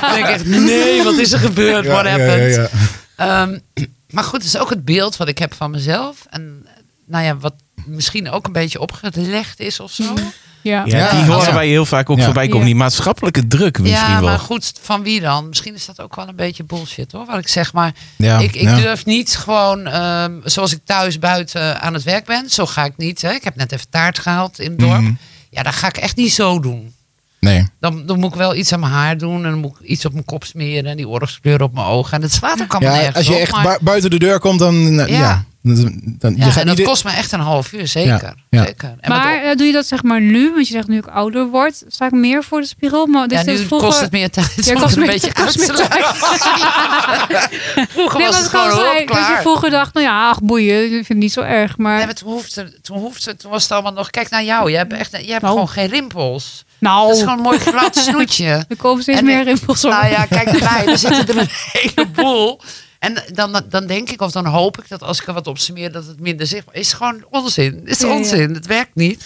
ik denk echt, nee, wat is er gebeurd? What happened? Ehm, maar goed, het is ook het beeld wat ik heb van mezelf. En eh, nou ja, wat misschien ook een beetje opgelegd is of zo. Ja. Ja, Ja. die horen Ja. wij heel vaak ook Ja. voorbij komen. Ja. Die maatschappelijke druk misschien ja, wel. maar goed, van wie dan? Misschien is dat ook wel een beetje bullshit hoor, wat ik zeg. Maar Ja, ik, ik ja. durf niet gewoon, ehm, zoals ik thuis buiten aan het werk ben, zo ga ik niet. Hè. Ik heb net even taart gehaald in het dorp. Mhm. Ja, dat ga ik echt niet zo doen. Nee. Dan, dan moet ik wel iets aan mijn haar doen en dan moet ik iets op mijn kop smeren en die oorlogskleur op mijn ogen. En dat slaat ook allemaal Ja, nergens als je op, echt maar- bui- buiten de deur komt, dan... nou, ja. Ja. Dan, dan- Ja, je gaat en dat niet... kost me echt een half uur, zeker. Ja, ja. zeker. En wat- Maar eh, doe je dat zeg maar nu? Want je zegt nu ik ouder word, sta ik meer voor de spiegel. Maar dit ja, is nu Dus vroeger... kost het meer tijd. Ja, om kost het een meer- beetje kost uit meer te tijd. leggen. Vroeger Nee, was maar het het kan gewoon zijn hoor, dat je klaar. vroeger dacht, nou ja, ach boeien, ik vind het niet zo erg. Maar Ja, maar toen, hoefde, toen, hoefde, toen was het allemaal nog... Kijk naar jou, je hebt, echt, je hebt Nou. gewoon geen rimpels. Dat is nou, gewoon een mooi glad snoetje. er komen steeds En- meer rimpels op. Nou ja, kijk naar mij, er zitten er een heleboel. En dan, dan denk ik, of dan hoop ik dat als ik er wat op smeer, dat het minder zichtbaar is. gewoon onzin. Het is Ja, ja. onzin, het werkt niet.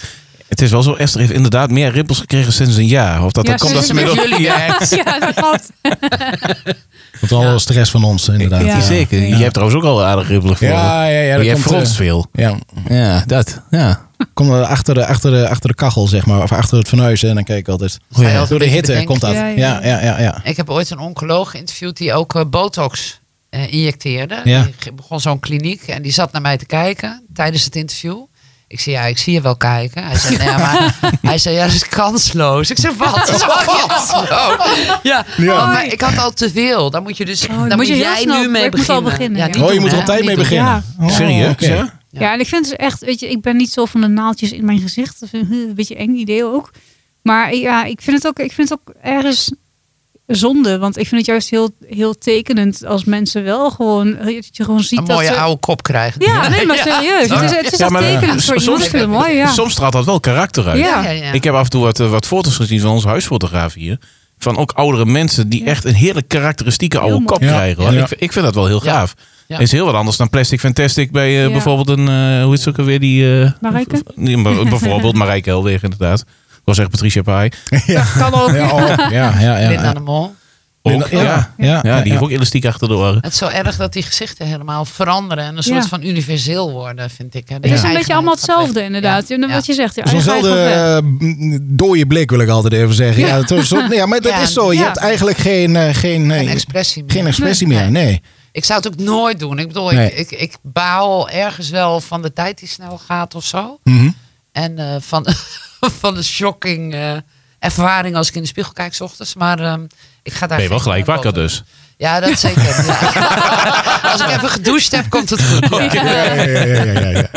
Het is wel zo, Esther heeft inderdaad meer rimpels gekregen sinds een jaar. Of dat, Ja, dat komt dat sinds ze een jaar. met... jullie werkt. Ja, dat klopt. Want al wel stress van ons, inderdaad. Ja. Zeker. Je hebt trouwens ook al aardig rimpelig voor. ja, ja. ja, dat Maar jij komt, eh, fronst veel. ja. Ja, dat. Ja. Kom dan achter de, achter, de, achter de kachel, zeg maar. Of achter het fornuis. En dan kijk ik altijd. Sta je altijd Door de een beetje hitte bedenken. komt dat. Ja, Ja, ja. ja, ja. ja, Ik heb ooit een oncoloog geïnterviewd die ook eh, botox eh, injecteerde. Ja. Die ge- begon zo'n kliniek en die zat naar mij te kijken tijdens het interview. Ik zei, ja, ik zie je wel kijken. Hij zei, nee, maar hij zei, ja, dat is kansloos. Ik zei, wat? Dat is wel kansloos. Ja, Ja. maar ik had al te veel. Daar moet je dus, Oh, daar moet moet, je heel jij snel- nu mee ik moet al beginnen. beginnen, ja. niet Oh, Oh, je doen, moet er hè? op tijd Niet mee doen. beginnen. Oh, Serieus, oké. ja? Ja. en ik vind het dus echt, weet je, ik ben niet zo van de naaldjes in mijn gezicht. Dat vind ik een beetje eng idee ook. Maar ja, ik vind het ook, ik vind het ook ergens zonde. Want ik vind het juist heel, heel tekenend als mensen wel gewoon, dat je gewoon ziet Een dat mooie ze... oude kop krijgen. Ja, nee, maar Ja. serieus. Het is, het is Ja, echt maar, eh, tekenend voor soms- iemand. Ik vind het mooi, ja. Soms straalt dat wel karakter uit. Ja. Ja, ja, ja. Ik heb af en toe wat, eh, wat foto's gezien van onze huisfotograaf hier. Van ook oudere mensen die Ja. echt een heerlijk karakteristieke Heel oude mooi. kop Ja. krijgen. hoor. Ja. Ik, ik vind dat wel heel Ja. gaaf. Ja. Is heel wat anders dan Plastic Fantastic bij eh, Ja. bijvoorbeeld een, eh, hoe is het ook alweer die... eh, Marijke? v- nee, maar- bijvoorbeeld Marijke Helweg inderdaad. Ik was echt Patricia Pai. Kan ook. Ja, oh, ja, ja, ja. Linda de Mol. Ook, ja. Ja. ja, die heeft ook elastiek achter de oren. Het is zo erg dat die gezichten helemaal veranderen en een Ja. soort van universeel worden, vind ik. hè. Die Het is een eigenheid beetje allemaal gaat weg. hetzelfde, inderdaad. Ja. En Wat Ja. je zegt, ja, Zo'n eigenlijk zelfde wel weg. eh, m- dode blik wil ik altijd even zeggen. Ja, het is zo- ja maar dat Ja, is zo. Je ja. hebt eigenlijk geen, eh, geen, eh, Geen expressie meer. geen expressie meer. Nee. Ik zou het ook nooit doen. Ik bedoel, Nee. ik, ik, ik baal ergens wel van de tijd die snel gaat of zo. Mhm. En eh, van, van de shocking eh, ervaring als ik in de spiegel kijk 's ochtends. Maar ehm, ik ga daar. Ben je wel geen gelijk voorbeeld wakker op. dus. Ja, dat zeker. ja. als ik even gedoucht heb, komt het goed. Ja. Ja, ja, ja, ja, ja, ja.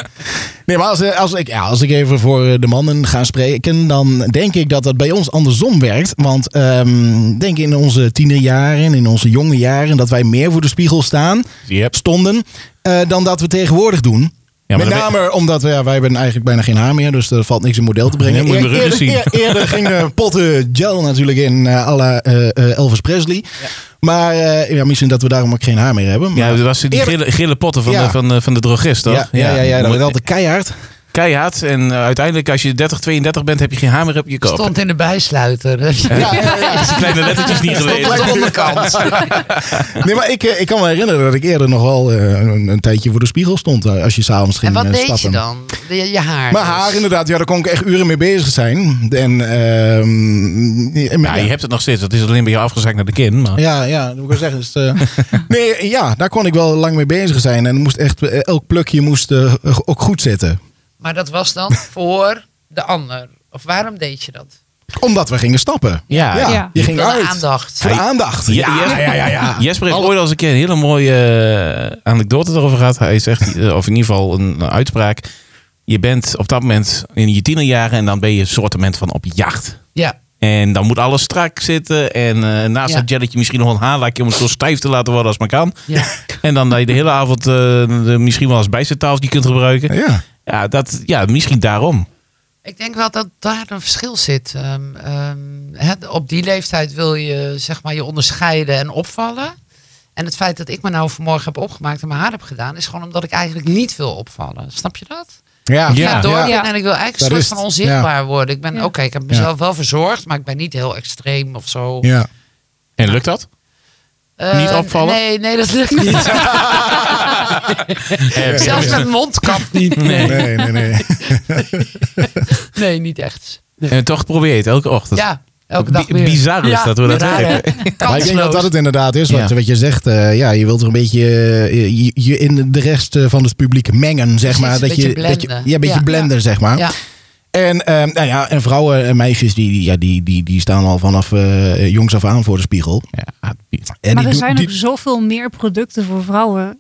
Nee, maar als, eh, als, ik, ja, als ik even voor eh, de mannen ga spreken, dan denk ik dat dat bij ons andersom werkt. Want ehm, denk in onze tienerjaren, in onze jonge jaren, dat wij meer voor de spiegel staan, Yep. stonden, eh, dan dat we tegenwoordig doen. Ja, maar Met dan- name omdat we, ja, wij hebben eigenlijk bijna geen haar meer, dus er valt niks in model te brengen. Ja, moet je mijn rug eerder, eens zien. eer- eerder gingen potten gel natuurlijk in eh à la eh, eh, Elvis Presley. Maar eh, ja, misschien dat we daarom ook geen haar meer hebben. Maar, Ja, dat was die Eerlijk- gele, gele potten van, Ja. de, van, de, van de drogist, toch? ja, ja, ja, ja, dat werd altijd keihard. Keihard. En eh, uiteindelijk, als je 30, 32 bent, heb je geen hamer op je kop. Stond in de bijsluiter. Ja, ja, ja. Dat is die kleine lettertjes niet Stond aan geweest. de onderkant. Nee, maar ik, eh, ik kan me herinneren dat ik eerder nog wel eh, een, een tijdje voor de spiegel stond. eh, als je s'avonds ging En wat eh, deed je stappen. dan? Je, je haar. Maar dus. haar inderdaad, ja, daar kon ik echt uren mee bezig zijn. En, ehm, Ja, je hebt het nog steeds. Dat is alleen bij jou afgezakt naar de kin. Maar... ja, ja, dat moet ik wel zeggen. is, eh, nee, ja, daar kon ik wel lang mee bezig zijn. En moest echt, eh, elk plukje moest eh, ook goed zitten. Maar dat was dan voor de ander. Of waarom deed je dat? Omdat we gingen stappen. Ja. ja, Ja. je ging Voor de uit. aandacht. Voor de aandacht. Ja, Ja, Jesper- ja, ja, ja. Jesper heeft ooit als een keer een hele mooie eh, anekdote erover gehad. Hij zegt, eh, of in ieder geval een, een uitspraak. Je bent op dat moment in je tienerjaren en dan ben je een soortement van op jacht. Ja. En dan moet alles strak zitten. En eh, naast Ja. dat jelletje misschien nog een haarlakje om het zo stijf te laten worden als maar kan. ja. En dan dat je de hele avond eh, de- misschien wel als bijzettafeltje kunt gebruiken. Ja. Ja, dat, ja misschien daarom. Ik denk wel dat daar een verschil zit. Ehm, ehm, hè, op die leeftijd wil je zeg maar, je onderscheiden en opvallen. En het feit dat ik me nou vanmorgen heb opgemaakt en mijn haar heb gedaan, is gewoon omdat ik eigenlijk niet wil opvallen. Snap je dat? Ja, Ja. Ik ga door Ja. en ik wil eigenlijk Daar een is soort van het. onzichtbaar worden. Ik ben Ja. oké, ik heb mezelf wel verzorgd, maar ik ben niet heel extreem of zo. ja. En lukt dat? Eh, Niet opvallen? Nee, nee, dat lukt niet. eh, Zelfs met mondkap niet. Nee, nee, nee. Nee, niet echt. En toch probeer je het elke ochtend. Ja, elke Bi- dag weer. bizar is dat we dat raar, hebben. hè? Maar ik denk dat Kansloos. dat het inderdaad is. Wat, Ja. wat je zegt, eh, ja, je wilt er een beetje eh, je, je in de rest eh, van het publiek mengen, zeg Precies, maar. een Dat je, beetje dat je, ja, blenden. een beetje Ja. blender, zeg maar. Ja. En, ehm, nou ja, en vrouwen en meisjes, die, die, ja, die, die, die staan al vanaf eh, jongs af aan voor de spiegel. Ja, Maar En die er doen- zijn die- ook zoveel meer producten voor vrouwen.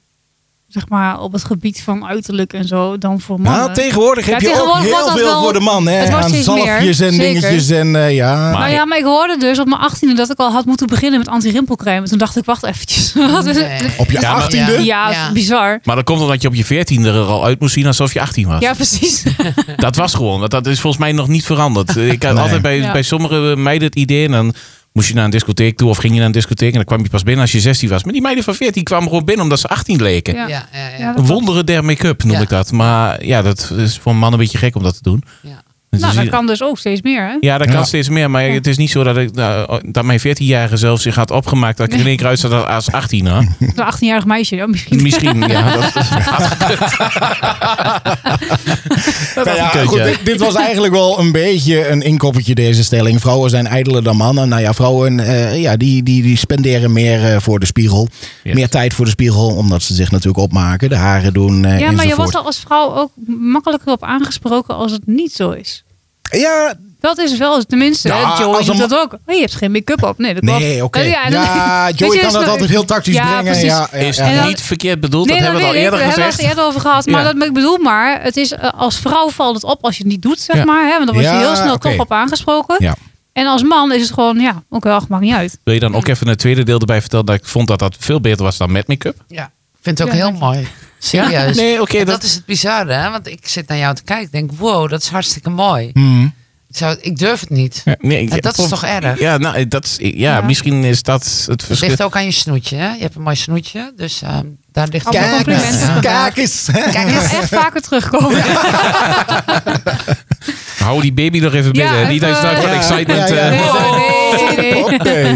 Zeg maar op het gebied van uiterlijk en zo dan voor mannen. Nou, tegenwoordig Ja, heb tegenwoordig je ook wordt heel dat veel wel- voor de man. het Hè? wordt Aan steeds zalfjes meer, en zeker. dingetjes en eh, ja. Maar- Nou ja, maar ik hoorde dus op mijn 18e dat ik al had moeten beginnen met anti-rimpelcrème. Toen dacht ik, wacht eventjes. Wat is het? Nee. op je Ja, maar- achttiende? Ja, Ja, Ja. bizar. Maar dat komt omdat je op je veertiende er al uit moest zien alsof je 18 was. Ja, precies. Dat was gewoon. Dat, dat is volgens mij nog niet veranderd. Ik had Nee. altijd bij, Ja. bij sommige meiden het idee. En dan moest je naar een discotheek toe of ging je naar een discotheek. En dan kwam je pas binnen als je 16 was. Maar die meiden van 14 kwamen gewoon binnen omdat ze 18 leken. Ja. Ja, ja, ja. Ja, dat klopt. Wonderen der make-up noem Ja. ik dat. Maar ja, dat is voor een man een beetje gek om dat te doen. Ja. Dus Nou, je- dat kan dus ook steeds meer, hè? Ja, dat kan Ja. steeds meer. Maar Ja. het is niet zo dat, ik, nou, dat mijn 14-jarige zelf zich had opgemaakt dat ik er in één keer uitzag dat als 18 hè? Een 18-jarig meisje, ja, misschien. Misschien, ja. Dat, dat had Nou ja, gekund, goed, ja. dit, dit was eigenlijk wel een beetje een inkoppertje, deze stelling. Vrouwen zijn ijdeler dan mannen. Nou ja, vrouwen eh, ja, die, die, die spenderen meer eh, voor de spiegel. Yes. Meer tijd voor de spiegel, omdat ze zich natuurlijk opmaken. De haren doen eh Ja, maar je enzovoort. wordt er als vrouw ook makkelijker op aangesproken als het niet zo is. Ja, Dat is wel, tenminste, Ja, hè, Joey als een doet dat ook. Oh, je hebt geen make-up op. Nee, dat klopt. nee, oké. Eh, Ja, en dan- Weet Joey je, kan is dat nou- altijd heel tactisch Ja, brengen. precies. Ja, ja, Is ja. dan- niet verkeerd bedoeld, dat nee, hebben we dat al weet ik. eerder Daar hebben we gezegd. het al eerder over gehad. Ja. Maar dat, ik bedoel maar, het is, eh, als vrouw valt het op als je het niet doet, zeg Ja. maar. Hè, want dan word je Ja, heel snel oké. toch op aangesproken. Ja. En als man is het gewoon, ja, ook wel, ach, maakt niet uit. Wil je dan ook even een tweede deel erbij vertellen dat ik vond dat dat veel beter was dan met make-up? Ja, ik vind het ook Ja, heel dank mooi. Serieus. Nee, oké. En dat... dat, is het bizarre, hè? want ik zit naar jou te kijken. denk, wow, dat is hartstikke mooi. Hmm. Ik, zou, ik durf het niet. nee, ik- En dat is toch erg? Ja, nou, dat is, ja, Ja. misschien is dat het Het verschil. ligt ook aan je snoetje. Hè? Je hebt een mooi snoetje, dus ehm, daar ligt Allemaal het ook Kijk complimenten. eens, Ja. kijk eens. Kijk, dat is echt vaker terugkomen. Hou die baby nog even Ja, binnen. Niet even- uit van Ja, excitement. ja, ja. eh. Wow. Nee, nee, nee. Oké.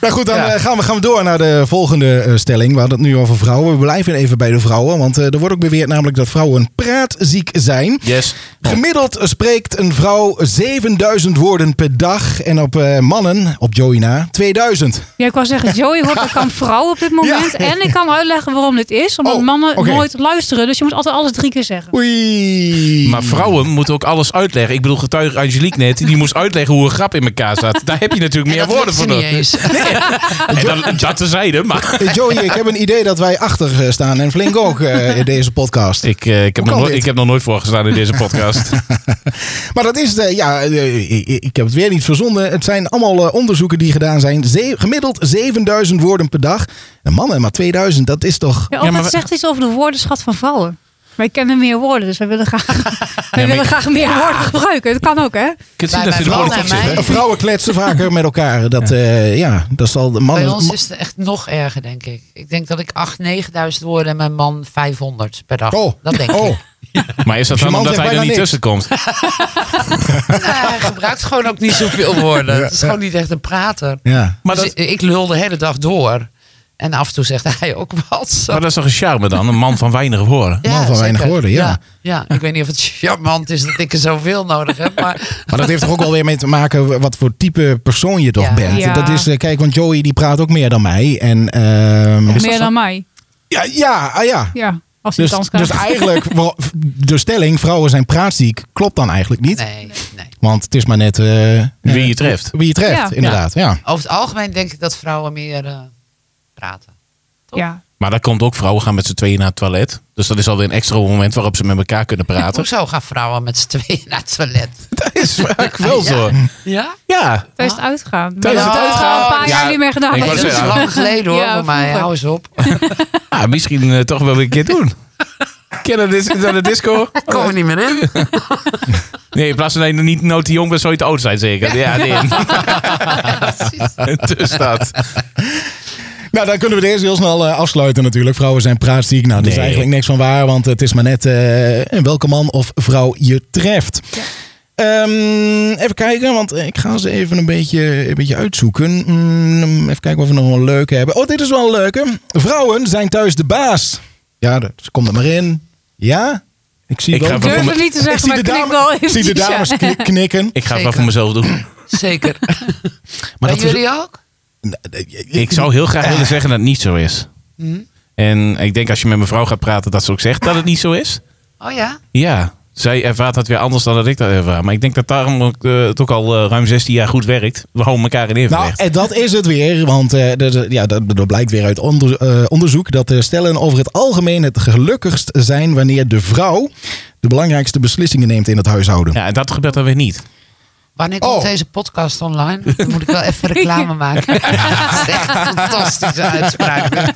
Nou goed, dan Ja. eh, gaan, we, gaan we door naar de volgende eh, stelling. We hadden het nu over vrouwen. We blijven even bij de vrouwen. Want eh, er wordt ook beweerd namelijk dat vrouwen praatziek zijn. Yes. Gemiddeld spreekt een vrouw 7000 woorden per dag. En op eh, mannen, op Joey na, 2000. Ja, ik wou zeggen, Joey wordt ik kan vrouw op dit moment. Ja. En ik kan uitleggen waarom dit is. Omdat Oh, mannen oké. nooit luisteren. Dus je moet altijd alles drie keer zeggen. Oei. Maar vrouwen moeten ook alles uitleggen. Ik bedoel, getuige Angelique net, die moest uitleggen hoe een grap in elkaar zat. Daar heb je natuurlijk En meer dat woorden lukt voor ze niet nodig. eens. En dan, dat tezijde, maar... Eh, Joey, ik heb een idee dat wij achter eh, staan. En flink ook eh, in deze podcast. Ik, eh, ik, heb Hoe nog kan nooit, dit? ik heb nog nooit voorgestaan in deze podcast. Maar dat is, de, ja, eh, ik- ik heb het weer niet verzonnen. Het zijn allemaal eh, onderzoeken die gedaan zijn. Ze- gemiddeld 7000 woorden per dag. En mannen, maar 2000, dat is toch... Ja, of Ja, maar het we- zegt iets over de woordenschat van vrouwen. Wij kennen meer woorden, dus wij willen graag, wij maar willen ik- graag meer woorden gebruiken. Dat kan ook, hè? Ik kan zien dat Bij- bij ze in de mannen politiek en zitten. mij- Eh, Vrouwen kletsen vaker met elkaar. Dat, eh, ja, dat zal de Bij mannen... ons is het echt nog erger, denk ik. Ik denk dat ik 8, 9000 woorden en mijn man 500 per dag. Oh. Dat denk Oh, ik. Maar is dat Die dan man omdat zegt hij bijna er niet niks. tussen komt? Nee, hij gebruikt gewoon ook niet zoveel woorden. Het is gewoon niet echt een prater. ja. Maar Dus dat, ik, ik lul de hele dag door. En af en toe zegt hij ook wat. Zo. maar dat is toch een charme dan? Een man van weinig woorden. man van weinig woorden, ja. ja. Ja, ik weet niet of het charmant is dat ik er zoveel nodig heb. Maar Maar dat heeft er ook wel weer mee te maken wat voor type persoon je toch Ja. bent. Ja. Dat is, eh, kijk, want Joey die praat ook meer dan mij. En, ehm, meer dan mij. ja, ja, ah, ja. Ja, als je Dus, het kans dus krijgt. eigenlijk, wel- de stelling vrouwen zijn praatziek klopt dan eigenlijk niet. nee, nee. Want het is maar net eh, Wie je treft. Wie je treft, Ja. inderdaad. Ja. Over het algemeen denk ik dat vrouwen meer eh, praten. ja. Maar dat komt ook, vrouwen gaan met z'n tweeën naar het toilet. Dus dat is alweer een extra moment waarop ze met elkaar kunnen praten. Hoezo gaan vrouwen met z'n tweeën naar het toilet? dat is vaak wel Ja. zo. Ja? Ah. Ja. Tijdens het uitgaan. Tijdens Maar dat hebben het we uitgaan. al een paar Ja, jaar niet meer gedaan. ik Nee, wou dat is zeggen. lang geleden hoor, Ja, voor mij. vroeger. Hou eens op. Ah, misschien eh, toch wel weer een keer doen. Kennen de, dis- naar de disco? Kom er niet meer in. Nee, in plaats van dat je niet nou te jong bent, zou je te oud zijn zeker. Ja, nee. dus dat. Nou, dan kunnen we deze heel snel eh, afsluiten natuurlijk. Vrouwen zijn praatziek. Nou, dat is Nee. eigenlijk niks van waar. Want het is maar net eh, welke man of vrouw je treft. Ehm, even kijken, want ik ga ze even een beetje, een beetje uitzoeken. Mm, even kijken of we nog wel een leuke hebben. Oh, dit is wel een leuke. Vrouwen zijn thuis de baas. Ja, dat komt er maar in. Ja? Ik zie Ik wel... ga Ik durf Van- het niet te ik zeggen, zie maar de, ik knik dame- wel ik even. zie de ja. dames kn- knikken. Ik ga het wel Zeker. voor mezelf doen. Zeker. Maar Bij dat is, jullie ook? Ik zou heel graag willen zeggen dat het niet zo is. Mm-hmm. En ik denk als je met mijn vrouw gaat praten, dat ze ook zegt dat het niet zo is. Oh ja? Ja, zij ervaart dat weer anders dan dat ik dat ervaar. Maar ik denk dat daarom ook, eh, het ook al eh, ruim 16 jaar goed werkt. We houden elkaar in Nou, evenwicht. en dat is het weer, want eh, dat- dat- ja, dat, dat blijkt weer uit onder- eh, onderzoek dat de stellen over het algemeen het gelukkigst zijn wanneer de vrouw de belangrijkste beslissingen neemt in het huishouden. ja, en dat gebeurt dan weer niet. Wanneer komt Oh. deze podcast online? Dan moet ik wel even reclame maken. Dat is echt een fantastische uitspraak.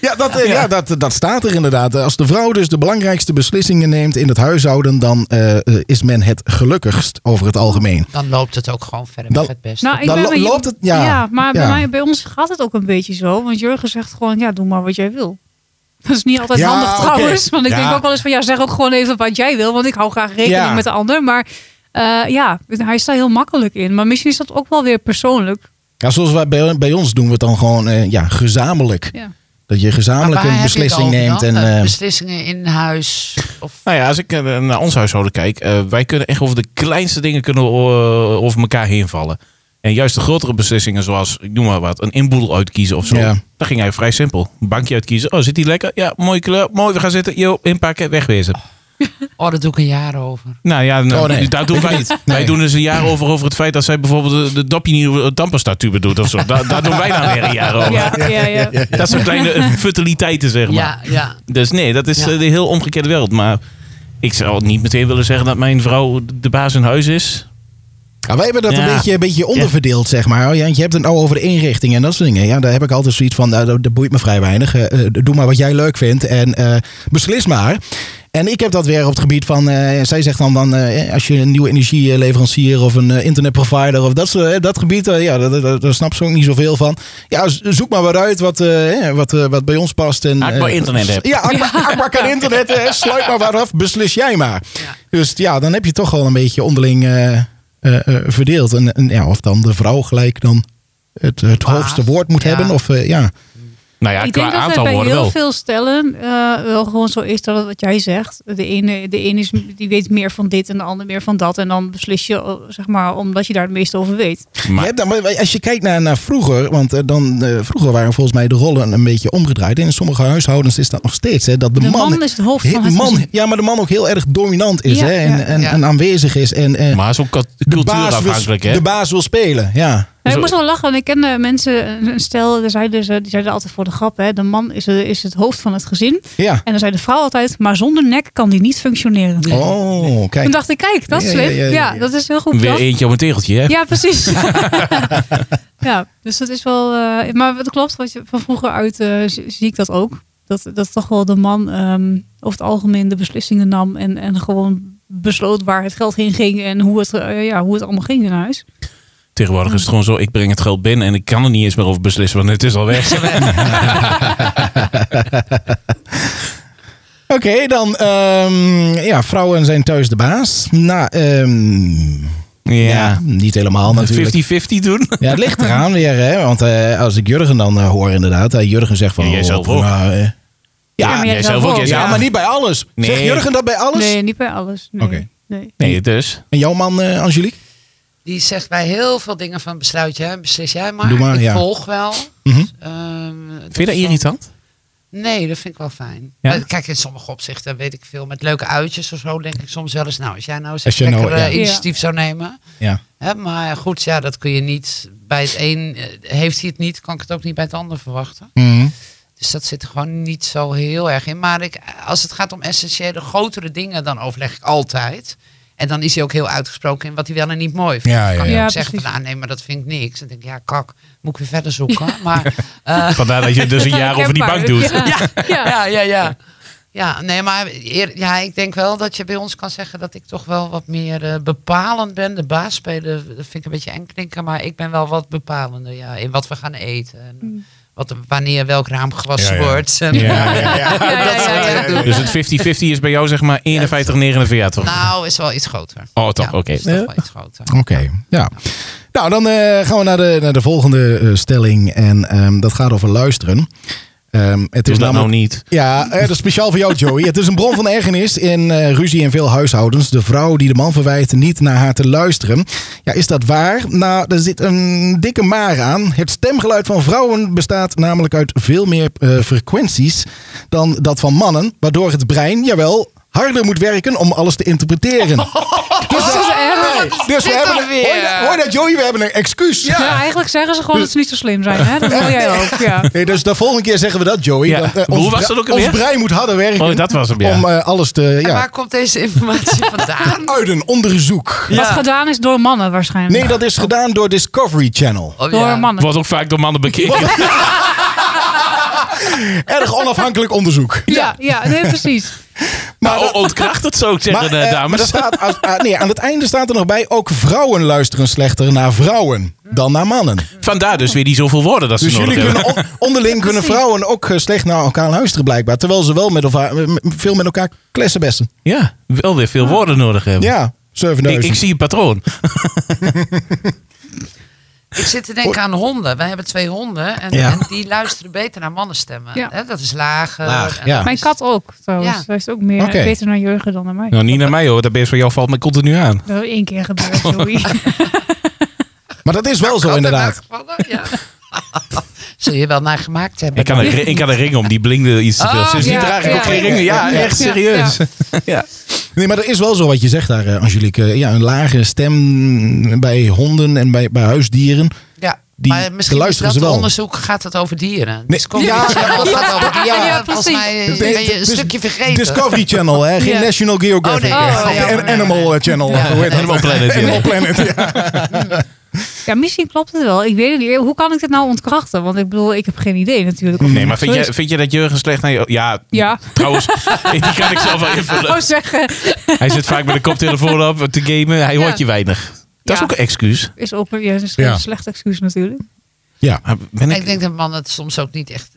Ja, dat, eh, ja dat, dat staat er inderdaad. Als de vrouw dus de belangrijkste beslissingen neemt in het huishouden, dan eh, eh, is men het gelukkigst over het algemeen. Dan loopt het ook gewoon verder Dan- met het beste. Nou, ik Dus Dan ben lo- met je- loopt het- ja. maar Ja. Bij, mij, bij ons gaat het ook een beetje zo. Want Jurgen zegt gewoon, ja, doe maar wat jij wil. Dat is niet altijd Ja, handig oké. trouwens. Want ik Ja. denk ook wel eens van ja, zeg ook gewoon even wat jij wil. Want ik hou graag rekening Ja. met de ander. Maar eh, ja, hij is daar heel makkelijk in. Maar misschien is dat ook wel weer persoonlijk. Ja, zoals wij bij, bij ons doen we het dan gewoon eh, ja, gezamenlijk. Ja. Dat je gezamenlijk Maar waar een heb je het beslissing over neemt. dan? En, Eh, eh, beslissingen in huis. Of, Nou ja, als ik eh, naar ons huishouden kijk, eh, wij kunnen echt over de kleinste dingen kunnen, eh, over elkaar heen vallen. En juist de grotere beslissingen, zoals, ik noem maar wat, een inboedel uitkiezen of zo. Ja. Dat ging hij vrij simpel. Een bankje uitkiezen. Oh, zit die lekker? Ja, mooie kleur. Mooi, we gaan zitten. Yo, inpakken, wegwezen. oh, daar doe ik een jaar over. Nou ja, nou, Oh, nee. daar doen wij, wij Nee. doen dus een jaar over over het feit dat zij bijvoorbeeld de, de dapje nieuwe damperstatuur doet of zo. Daar, daar doen wij dan weer een jaar over. Ja, ja, ja. Dat zijn kleine eh, futiliteiten, zeg maar. Ja, ja. Dus nee, dat is Ja. eh, de heel omgekeerde wereld. Maar ik zou niet meteen willen zeggen dat mijn vrouw de baas in huis is. ja, wij hebben dat Ja. een beetje, een beetje onderverdeeld, zeg maar. Ja, want je hebt het nou over de inrichting en dat soort dingen. Ja, daar heb ik altijd zoiets van, nou, dat, dat boeit me vrij weinig. Eh, eh, doe maar wat jij leuk vindt en eh, beslis maar. En ik heb dat weer op het gebied van, eh, zij zegt dan, dan eh, als je een nieuwe energieleverancier of een eh, internetprovider of dat, soort- eh, dat gebied, eh, ja, dat- dat- dat- daar snapt ze ook niet zoveel van. Ja, z- zoek maar wat uit wat, eh, eh, wat, eh, wat bij ons past. En, Haak maar eh, internet hebt. Ja, haak maar- haak maar kan internet, eh, sluit maar wat af, beslis jij maar. Dus ja, dan heb je toch wel een beetje onderling eh, eh, eh, verdeeld. En, en ja, of dan de vrouw gelijk dan het, het Baas. hoogste woord moet Ja. hebben. Of eh, ja. Nou ja, ik qua denk dat het aantal bij woorden heel wel. veel stellen eh, wel gewoon zo is dat het wat jij zegt. De ene, de ene is, die weet meer van dit en de ander meer van dat. En dan beslis je, eh, zeg maar, omdat je daar het meeste over weet. Maar- Je hebt dan, maar als je kijkt naar, naar vroeger, want eh, dan, eh, vroeger waren volgens mij de rollen een beetje omgedraaid. En in sommige huishoudens is dat nog steeds. Hè, dat de, De man, is het hoofd heel- van het man, gezin. ja, maar de man ook heel erg dominant is Ja, hè, en, ja, en, ja. en aanwezig is. En, eh, Maar zo'n de, cultuur baas wil, afhankelijk, hè? de baas wil spelen, ja. Ja, ik Zo- moest wel lachen, want ik kende mensen, een- een stel, die zeiden, ze- die zeiden altijd voor de grap, hè, de man is, eh, is het hoofd van het gezin. ja. En dan zei de vrouw altijd, maar zonder nek kan die niet functioneren. Oh, Toen kijk. dacht ik, kijk, dat is Ja, slim. ja, Ja, ja, ja, ja. dat is heel goed. Weer bedacht. eentje op een tegeltje, hè? Ja, precies. ja, dus dat is wel. eh, maar het klopt, wat je, van vroeger uit eh, z- zie ik dat ook. Dat, dat toch wel de man ehm, over het algemeen de beslissingen nam en, en gewoon besloot waar het geld heen ging en hoe het, eh, ja, hoe het allemaal ging in huis. Tegenwoordig is het gewoon zo, ik breng het geld binnen en ik kan er niet eens meer over beslissen, want het is al weg. Oké, dan ehm, ja, vrouwen zijn thuis de baas. Nou, ehm, ja. niet helemaal natuurlijk. 50-50 doen. Ja, het ligt eraan weer, hè? Want eh, als ik Jurgen dan eh, hoor inderdaad, eh, Jurgen zegt van... Ja, jij oh, zelf ook. nou, eh, Oh, Ja, maar jij jij zelf zelf ook. ook. jij ja, zelf- maar niet bij alles. Nee. Zegt Jurgen dat bij alles? Nee, niet bij alles. Nee. Oké. nee. Nee, dus. En jouw man eh, Angelique? Die zegt bij heel veel dingen van besluit jij, beslis jij maar. Doe maar, ik ja. volg wel. Mhm. Ehm, Vind je dat is wel- irritant? Nee, dat vind ik wel fijn. Ja? Eh, Kijk, in sommige opzichten weet ik veel. Met leuke uitjes of zo denk ik soms wel eens. Nou, als jij nou eens Als je een nou- lekker eh, ja. initiatief zou nemen. Ja. Hè, maar goed, ja, dat kun je niet. Bij het een eh, heeft hij het niet, kan ik het ook niet bij het ander verwachten. Mm. Dus dat zit er gewoon niet zo heel erg in. Maar ik, als het gaat om essentiële, grotere dingen, dan overleg ik altijd. En dan is hij ook heel uitgesproken in wat hij wel en niet mooi vindt. Ja, ja, Dan kan ja. je ook Ja, zeggen van, precies. ah, nee, maar dat vind ik niks. En dan denk ik, ja, kak, moet ik weer verder zoeken. Maar, eh, Vandaar dat je het dus een jaar over die bank doet. Ja. Ja. ja, ja, ja. Ja, nee, maar eer- ja, ik denk wel dat je bij ons kan zeggen dat ik toch wel wat meer eh, bepalend ben. De baas spelen, dat vind ik een beetje eng klinken, maar ik ben wel wat bepalender ja, in wat we gaan eten. En wat, wanneer welk raam gewassen Ja, ja. wordt. En, Ja, ja, ja, ja. Dus het 50-50 is bij jou zeg maar 51-49. Nou, is wel iets groter. Oh, toch, Ja, oké. is toch wel iets groter. Oké, ja. Nou, dan eh, gaan we naar de, naar de volgende eh, stelling. En ehm, dat gaat over luisteren. Ehm, het Doe is dat namelijk nou niet. Ja, eh, dat is speciaal voor jou, Joey. Het is een bron van ergernis in eh, ruzie in veel huishoudens. De vrouw die de man verwijt niet naar haar te luisteren. Ja, is dat waar? Nou, er zit een dikke maar aan. Het stemgeluid van vrouwen bestaat namelijk uit veel meer eh, frequenties dan dat van mannen. Waardoor het brein, jawel, harder moet werken om alles te interpreteren. Dus, Dat is erg. dus we dit hebben... dan een- weer? Hoor je dat- hoor je dat, Joey? We hebben een excuus. Ja, eigenlijk zeggen ze gewoon dat ze niet zo slim zijn. Hè? Dat wil jij ook. Ja. Nee, dus de volgende keer zeggen we dat, Joey. Ja. Want, eh, Hoe ons was bre- dat ook ons alweer? brein moet harder werken Oh, dat was hem, ja. om eh, alles te... En Ja, waar komt deze informatie vandaan? Oh, uit een onderzoek. Wat gedaan is door mannen waarschijnlijk. Nee, dat is gedaan door Discovery Channel. Oh, door ja. mannen. Wordt ook vaak door mannen bekeken. Erg onafhankelijk onderzoek. Ja, ja, nee, precies. Maar oh, ontkracht het zo, zeggen de eh, maar dames. er staat, als- ah, nee, aan het einde staat er nog bij, ook vrouwen luisteren slechter naar vrouwen dan naar mannen. Vandaar dus weer die zoveel woorden dat ze Dus nodig jullie hebben. kunnen on- onderling kunnen vrouwen ook eh, slecht naar elkaar luisteren blijkbaar. Terwijl ze wel met elkaar, eh, m- veel met elkaar klessenbessen. Ja, wel weer veel woorden nodig hebben. Ja, ik, 7000. ik zie een patroon. Ik zit te denken aan honden. Wij hebben twee honden en, Ja. en die luisteren beter naar mannenstemmen. Ja. Hè, dat is lager. Laag, en ja. dat Mijn is- kat ook, trouwens. Ja. Hij is ook meer, Oké. beter naar Jurgen dan naar mij. Nou, niet naar mij hoor, dat beest van jou valt mij continu aan. Dat is één keer gebeurd, sorry. Maar dat is wel zo inderdaad. Altijd nagevallen, Ja. Zul je wel naar gemaakt hebben. Ik kan, een, ri- ik kan een ring om, die blingde iets te veel. Oh, dus die ja, draag ik ja, ook geen ja. ringen. Ja, Ja, echt ja, serieus. Ja, Nee, maar dat is wel zo wat je zegt daar, eh, Angelique. Eh, Ja, een lage stem bij honden en bij, bij huisdieren. Ja, Die- maar misschien de is luisteren dat ze wel. onderzoek gaat het over dieren. Dus Nee, Discovery ja, Channel ja, gaat het over dieren. ja, Volgens precies. mij Nee, ben je een dus- stukje vergeten. Discovery Channel, hè? geen Ja. National Geographic. Oh, nee. hè? Oh, Of ja, An- nee, nee, Animal eh, Channel. Ja. Hoe heet dat? Animal Planet. ja. Animal Planet, ja. Ja, misschien klopt het wel. Ik weet het niet. Hoe kan ik dat nou ontkrachten? Want ik bedoel, ik heb geen idee natuurlijk. Nee, maar vind Zo is- je, vind je dat Jurgen slecht naar jou... Ja, Ja. trouwens, die kan ik zelf wel invullen. Oh, zeggen. Hij zit vaak met een koptelefoon op te gamen. Hij hoort Ja. je weinig. Dat is Ja. ook een excuus. Is ook weer ja, is Ja. een slecht excuus natuurlijk. ja. Maar Ben Ik denk dat mannen het soms ook niet echt...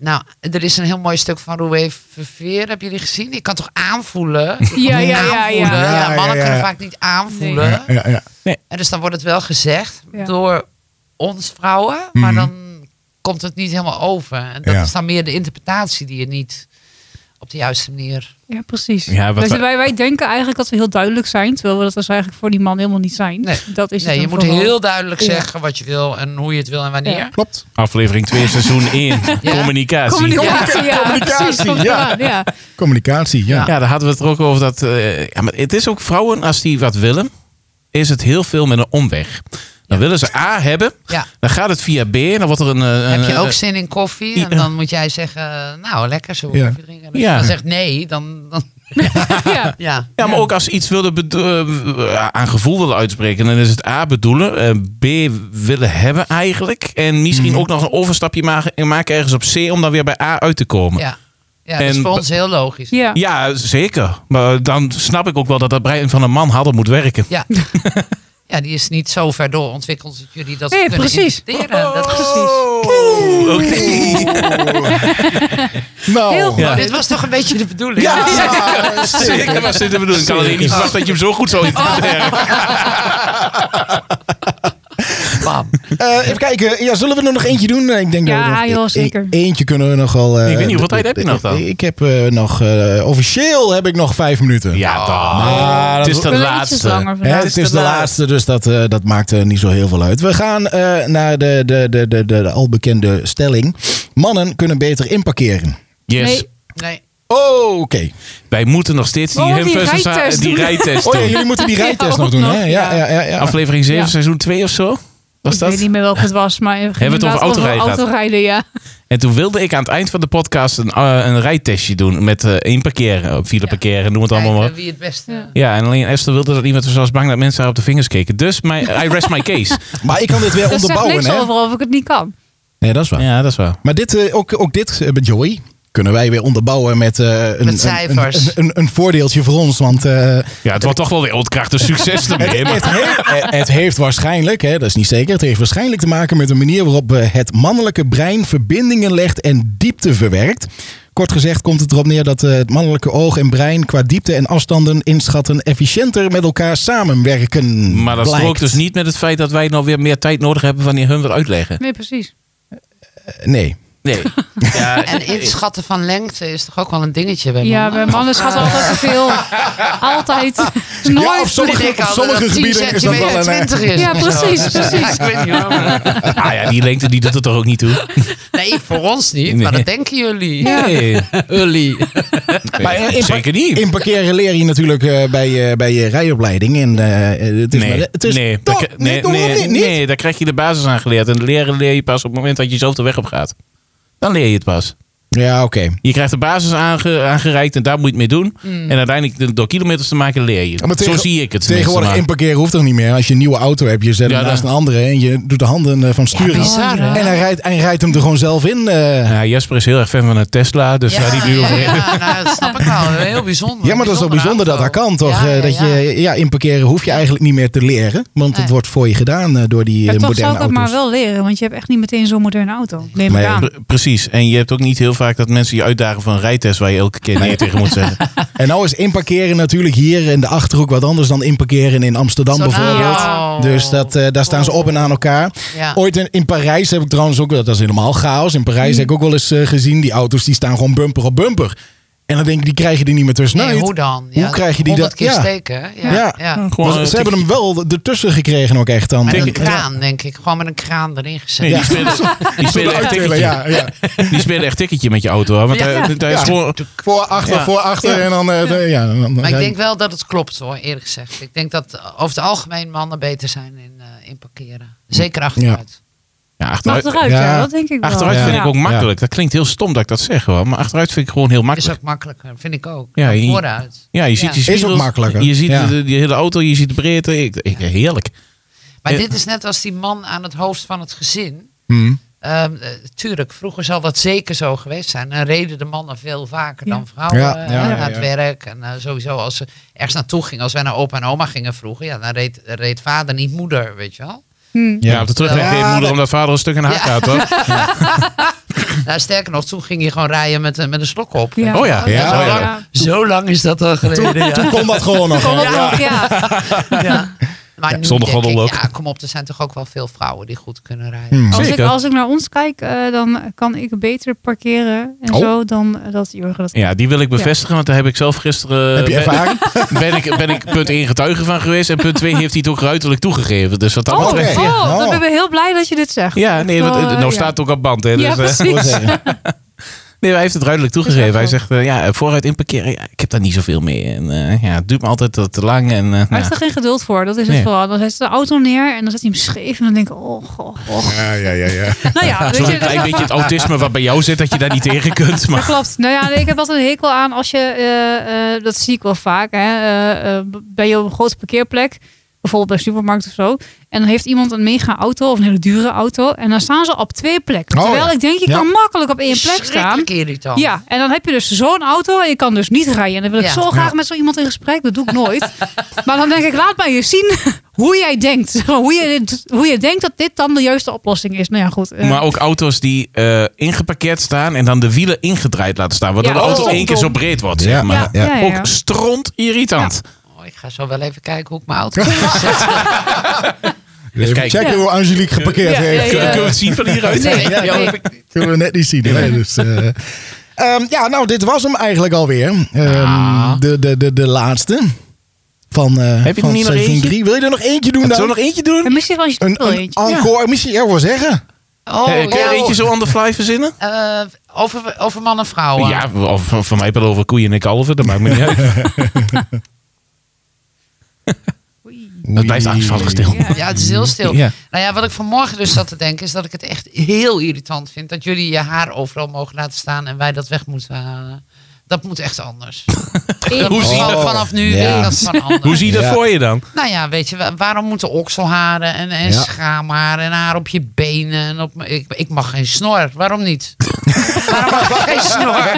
Nou, er is een heel mooi stuk van Roué Verveer. Heb je die gezien? Ik kan toch aanvoelen? Ik kan Ja, toch ja, ja, ja. aanvoelen? Ja, ja, mannen ja. kunnen vaak niet aanvoelen. Nee. ja, ja. En dus dan wordt het wel gezegd Ja. door ons vrouwen. Maar Mhm. dan komt het niet helemaal over. En dat Ja. is dan meer de interpretatie die je niet op de juiste manier... Ja, precies. Ja, wat Dus wij- wij, wij denken eigenlijk dat we heel duidelijk zijn, terwijl we dat dus eigenlijk voor die man helemaal niet zijn. Nee. dat is het Nee, je dan moet vooral. heel duidelijk Ja. zeggen wat je wil en hoe je het wil en wanneer. Ja. Klopt. Aflevering 2, seizoen 1. Communicatie. Communicatie, ja. Communicatie, precies, komt ja. eraan, ja. Communicatie, ja. Ja, daar hadden we het er ook over. Dat, eh, ja, maar het is ook vrouwen, als die wat willen, is het heel veel met een omweg. Dan willen ze A hebben, Ja. dan gaat het via B en dan wordt er een... eh, Heb je een- ook zin in koffie? i- En dan moet jij zeggen, nou lekker zo. Ja. koffie drinken. En als Ja. je dan zegt nee, dan... dan ja. ja. Ja, maar ook als ze iets willen bedo- eh, aan gevoel willen uitspreken, dan is het A bedoelen, eh, B willen hebben eigenlijk. En misschien Mhm. ook nog een overstapje ma- maken ergens op C om dan weer bij A uit te komen. Ja, ja dat is En- voor ons heel logisch. Ja. Ja, zeker. Maar dan snap ik ook wel dat dat brein van een man harder moet werken. Ja. ja, die is niet zo ver doorontwikkeld dat jullie dat Nee, kunnen precies. interpreteren. Dat is- Oh, oké. Nou. Heel goed. Ja. Oh, Dit was toch een beetje de bedoeling? Ja, Zeker, was dit de bedoeling? Ik had alleen niet verwacht dat je hem zo Oh. goed zou interpreteren. Bam. Eh, even kijken. Ja, zullen we er nog eentje doen? Ik denk Ja, dat we nog- joh, e- zeker. e- eentje kunnen we nog wel... eh, Ik weet niet, hoeveel d- tijd heb je d- nog dan? Ik heb eh, nog... eh, officieel heb ik nog vijf minuten. Ja, maar dan. dat Het We is de willen ietsjes laatste. langer Hè, vandaag. het is de de laatste. laatste, dus dat, eh, dat maakt eh, niet zo heel veel uit. We gaan eh, naar de, de, de, de, de, de albekende stelling. Mannen kunnen beter inparkeren. Yes. Nee. Nee. Oh, oké. Wij moeten nog steeds die Oh, die humfuzzers ha- rijtest die doen. rijtest Oh ja, doen. jullie moeten die rijtest Ja, nog doen, hè? nog, Ja, ja. ja, ja. ja. Aflevering 7, Ja. seizoen 2 of zo? Was Ik weet dat? niet meer welke het was, maar hebben het over autorijden gehad? autorijden, ja. En toen wilde ik aan het eind van de podcast een, eh, een rijtestje doen met eh één parkeren, file parkeren, noem het allemaal Kijken maar. wie het beste... Ja. Ja, en alleen Esther wilde dat iemand was zoals bang dat mensen haar op de vingers keken. Dus my, I rest my case. Maar ik kan dit weer Dat zegt onderbouwen, niks hè? over of ik het niet kan. Nee, dat is waar. Ja, dat is waar. Maar dit, eh, ook, ook dit eh, met Joey kunnen wij weer onderbouwen met, eh, een, Met cijfers. Een, een, een, een voordeeltje voor ons. Want eh, Ja, het wordt toch wel weer ontkracht dus succes ermee. het, Maar he- eh, het heeft waarschijnlijk, hè, dat is niet zeker, het heeft waarschijnlijk te maken met de manier waarop eh, het mannelijke brein verbindingen legt en diepte verwerkt. Kort gezegd komt het erop neer dat eh, het mannelijke oog en brein qua diepte en afstanden inschatten efficiënter met elkaar samenwerken. maar dat blijkt. strookt dus niet met het feit dat wij nou weer meer tijd nodig hebben wanneer hun wat uitleggen. Nee, precies. Eh, Nee. Nee. Ja, En inschatten van lengte is toch ook wel een dingetje bij Ja, mannen? bij mannen schat altijd te veel. Altijd. Het is Ja, Nooit. of sommige, Ik denk op altijd sommige dat 10 gebieden is dat wel centimeter een... eh, 20 is. Ja, of zo. precies, precies. Ik weet niet waarom. nou ja, die lengte die doet het toch ook niet toe? Nee, voor ons niet, maar Nee. dat denken jullie. Nee. Jullie. Maar, eh, in- Zeker niet. In parkeren leer je natuurlijk eh, bij, je- bij je rijopleiding. En, eh, het is maar- Nee, het is nee, toch, daar- nee, nee, doe maar nee, op, niet, niet. nee, daar krijg je de basis aan geleerd. En leren leer je pas op het moment dat je zelf de weg op gaat. Dan leer je het pas. Ja, oké. Je krijgt de basis aange- aangereikt en daar moet je het mee doen. En uiteindelijk door kilometers te maken leer je. Mm. Ja, maar tegen- Zo zie ik het. Tegenwoordig tenminste, inparkeren hoeft toch niet meer? Als je een nieuwe auto hebt, je zet Ja, hem naast dan- een andere en je doet de handen eh, van sturen. bizar, hè? en hij rijdt, hij rijdt hem er gewoon zelf in. eh. maar. Ja, Jasper is heel erg fan van een Tesla, dus daar die nu ja, over in. ja, nou, dat snap ik wel. Heel bijzonder. Ja, maar dat is ook bijzonder dat dat auto. kan, toch? Ja, Eh, ja, dat ja. je, ja, inparkeren hoef je eigenlijk niet meer te leren. Want het Nee. wordt voor je gedaan eh, door die eh, Ja, toch moderne zou ik dat auto's. maar wel leren, want je hebt echt niet meteen zo'n moderne auto. Neem Nee. ik aan. Pre- Precies. En je hebt ook niet heel vaak dat mensen je uitdagen van een rijtest waar je elke keer nee tegen moet zeggen. En nou is inparkeren natuurlijk hier in de Achterhoek wat anders dan inparkeren in Amsterdam Zo, nou, bijvoorbeeld. ja. Dus dat, eh, daar staan ze op en aan elkaar. Ja. Ooit in, in Parijs heb ik trouwens ook, dat is helemaal chaos. In Parijs heb ik ook wel eens eh, gezien, die auto's die staan gewoon bumper op bumper. En dan denk ik, die krijg je er niet meer tussenuit. Nee, hoe dan? Ja, hoe krijg je die 100 dat- keer ja. steken. hè? Ja, Ja. ja. Gewoon, ze eh, hebben hem wel ertussen gekregen ook echt dan. Met een Ja. kraan, denk ik. Gewoon met een kraan erin gezet. Nee, die spelen, die spelen echt Ja, tikketje. ja, ja. Die spelen echt tikketje met je auto. hè, Want Ja. hij, hij Ja. is gewoon... Voor achter, Ja. voor achter en dan... eh, de- ja, dan- dan- Maar ik ja. denk wel dat het klopt hoor, eerlijk gezegd. Ik denk dat eh, over het algemeen mannen beter zijn in, eh, in parkeren. Zeker achteruit. Ja, achteruit, Achteruit, Ja. ja. dat denk ik wel. achteruit Ja. vind ik ook Ja. makkelijk. Dat klinkt heel stom dat ik dat zeg hoor. Maar achteruit vind ik gewoon heel Is makkelijk. ook makkelijker, vind ik ook. Ja, Dan je- vooruit. Ja, je ziet Ja. die spiegels. Is ook makkelijker. Je ziet Ja. de, die hele auto, je ziet de breedte. Ik, ik, heerlijk. Maar Eh. dit is net als die man aan het hoofd van het gezin. Hm. Ehm, eh, tuurlijk, vroeger zal dat zeker zo geweest zijn. En reden de mannen veel vaker dan vrouwen Ja, eh, ja, ja, naar het ja. werk. En eh, sowieso als ze ergens naartoe gingen, als wij naar opa en oma gingen vroeger, ja, dan reed, reed vader niet moeder, weet je wel. Hm. Ja, op de terugweg Ja, deed moeder dat- omdat vader een stuk in de hak Ja. had. hoor. Nou, sterker nog, toen ging je gewoon rijden met, een- met een slok op. Ja. Oh ja. Ja. Oh, ja. Zo lang is dat al geleden. ja. Toen kon dat gewoon nog. Kom hè? op, ja. Ja. Maar nu zonder denk ik, goddel ook. Ja, kom op, er zijn toch ook wel veel vrouwen die goed kunnen rijden. Hm. Als, ik, Zeker. als ik naar ons kijk, eh, dan kan ik beter parkeren en Oh. zo dan eh, dat Jurgen dat Ja, die wil ik bevestigen, want daar heb ik zelf gisteren... Heb je ben- ervaring? Ben ik, ben ik punt 1 getuige van geweest en punt 2 heeft hij het ook ruiterlijk toegegeven. Dus wat dat Oh, oké. betreft... oh, Oh. dan ben ik heel blij dat je dit zegt. Ja, nee, want, eh, Wel, eh, nou ja. staat het ook op band. Hè, dus, Ja, eh, precies. nee, hij heeft het ruidelijk toegegeven. Is dat Hij zo? zegt, eh, ja, vooruit inparkeren, ja, ik heb daar niet zoveel mee. En, eh, ja, het duurt me altijd te te lang. En, eh, Hij nou. heeft er geen geduld voor, dat is Nee. het vooral. Dan zet ze de auto neer en dan zet hij hem scheef en dan denk ik, oh, goh, oh. Ja, ja, ja, ja. Nou ja, weet Zo'n je, klein beetje het autisme wat bij jou zit, dat je daar niet tegen kunt. dat Maar klopt. Nou ja, nee, ik heb altijd een hekel aan als je, eh, eh, dat zie ik wel vaak, hè, eh, eh, ben je op een grote parkeerplek, bijvoorbeeld bij een supermarkt of zo, en dan heeft iemand een mega auto of een hele dure auto en dan staan ze op twee plekken. Oh, Terwijl ja. ik denk, je Ja. kan makkelijk op één plek staan. Schrikkelijk irritant. Ja, en dan heb je dus zo'n auto en je kan dus niet rijden. En dan wil ik Ja. zo graag met zo iemand in gesprek. Dat doe ik nooit. maar dan denk ik, laat mij eens zien hoe jij denkt. Hoe je, dit- hoe je denkt dat dit dan de juiste oplossing is. Nou ja, goed. eh, Maar ook auto's die eh, ingeparkeerd staan en dan de wielen ingedraaid laten staan. Waardoor Ja, de auto oh, één keer dom. zo breed wordt. Ja, Zeg maar. ja, ja, ja, ja. Ook stront irritant. Oh, ik ga zo wel even kijken hoe ik mijn auto zet. Even kijken. checken hoe Angelique geparkeerd Ja, ja, heeft. ja, ja. Eh, Kunnen we het zien van hieruit? Nee, Ja, nee. ja. Kunnen we net niet zien. hè? Dus, eh, ehm, ja, nou, dit was hem eigenlijk alweer. Ehm, de, de, de, de laatste. Van, eh Heb je van er niet nog seizoen eentje? 3. Wil je er nog eentje doen Zullen dan? we nog eentje doen? En misschien wel eens Een, wel een eentje. encore, misschien, ja, wil zeggen. Oh, Eh, kun je ja, er eentje zo on the fly verzinnen? eh, over, over man en vrouwen. Ja, of van- van mij wel over koeien en kalven, dat maakt me niet uit. Dat blijft angstvallig stil. Ja. eh. Ja, het is heel stil. Ja. Nou ja, wat ik vanmorgen dus zat te denken is dat ik het echt heel irritant vind dat jullie je haar overal mogen laten staan en wij dat weg moeten halen. Dat moet echt anders. Dat Hoe moet zie- gewoon vanaf nu Ja. wil ik dat van anders. Hoe zie je dat Ja. voor je dan? Nou ja, weet je, wa- waarom moeten okselharen en, en Ja. schaamharen en haar op je benen? En op, m- ik, ik mag geen snor. Waarom niet? waarom mag ik geen snor?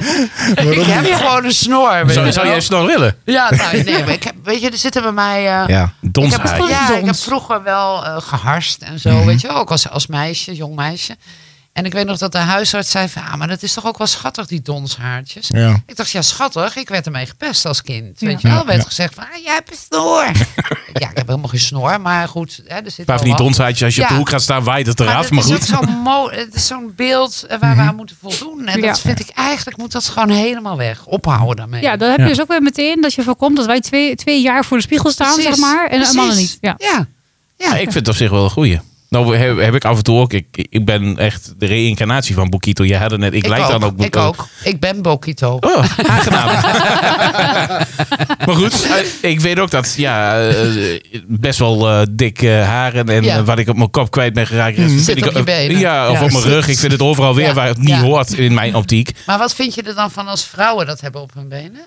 ik heb gewoon een snor. weet Zou, je zou wel. jij snel willen? Ja, nou, nee, maar ik heb, weet je, er zitten bij mij... eh, Ja. ik heb, Donshaai. ja, ik heb Dons. vroeger wel eh, geharst en Mhm. zo, weet je wel. Ook als, als meisje, jong meisje. En ik weet nog dat de huisarts zei van... Ah, maar dat is toch ook wel schattig, die donshaartjes. Ja. Ik dacht, ja, schattig. Ik werd ermee gepest als kind. Ja. Weet je wel, Ja, werd ja. gezegd van, ah, jij hebt een snor. ja, ik heb helemaal geen snor, maar goed. Hè, er zit Een paar van wel die wat. donshaatjes, als je op de Ja. hoek gaat staan, waait het Maar eraf. dat Maar, is ook goed. Mhm. zo'n mo- het is zo'n beeld eh, waar we aan moeten voldoen. En Ja. dat vind ik eigenlijk, moet dat gewoon helemaal weg. Ophouden daarmee. Ja, dan heb je Ja. dus ook weer meteen dat je voorkomt dat wij twee, twee jaar voor de spiegel staan, Precies. zeg maar. En Precies. mannen niet. Ja. Ja. Ja. Ja, ik vind het op zich wel een goeie. Nou heb, heb ik af en toe ook. Ik, ik ben echt de reïncarnatie van Bokito. Je had het net. Ik, lijk ook, dan ook Ik Bokito. ook. Ik ben Bokito. Oh, aangenaam. maar goed, eh, ik weet ook dat ja, eh, best wel eh, dikke haren en Ja. Mm. eh, wat ik op mijn kop kwijt ben geraakt. dat vind Zit ik, op je benen. Ja, of Ja. op mijn rug. Ik vind het overal weer Ja. waar het niet Ja. hoort in mijn optiek. Maar wat vind je er dan van als vrouwen dat hebben op hun benen?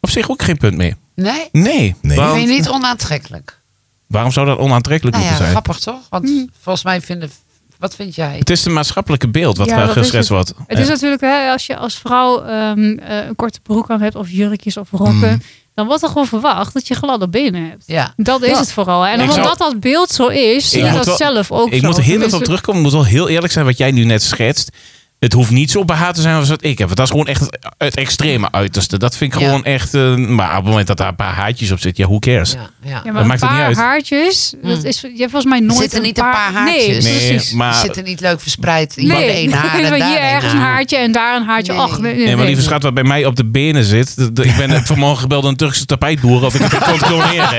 Op zich ook geen punt meer. Nee? Nee. Nee. Dat Want, vind je niet onaantrekkelijk? waarom zou dat onaantrekkelijk Nou ja, moeten zijn? grappig toch? Want Mhm. volgens mij vinden... Wat vind jij? Het is een maatschappelijke beeld wat Ja, ja, dat is het. geschetst wordt. Het is natuurlijk, hè, als je als vrouw ehm, eh, een korte broek aan hebt, of jurkjes of rokken, dan wordt er gewoon verwacht dat je gladde benen hebt. Ja. Dat is Ja. het vooral. En Ik omdat zou- dat beeld zo is, zie Ik ik moet dat wel- zelf ook ik zo. Dus moet er heel even op Tenminste, terugkomen. Ik moet wel heel eerlijk zijn wat jij nu net schetst. Het hoeft niet zo behaard te zijn als wat ik heb. Want dat is gewoon echt het, het extreme uiterste. Dat vind ik Ja. gewoon echt... eh, maar op het moment dat daar een paar haartjes op zitten, ja, who cares? Ja, ja. Ja, maar Dat maakt een het niet paar uit. Hmm. haartjes, dat Mm. is, je hebt volgens mij nooit Zitten niet een paar haartjes? Dus- Nee, nee, precies. maar, Zitten niet leuk verspreid. Hier Nee, één haar en want nou, daar hier één ergens een haar. haartje en daar een haartje. Nee. Ach, nee, nee, nee, maar nee. lieve schat, wat bij mij op de benen zit... de- de- ik ben net vanmorgen gebeld door een Turkse tapijtboer... of ik het kan controleren, hè?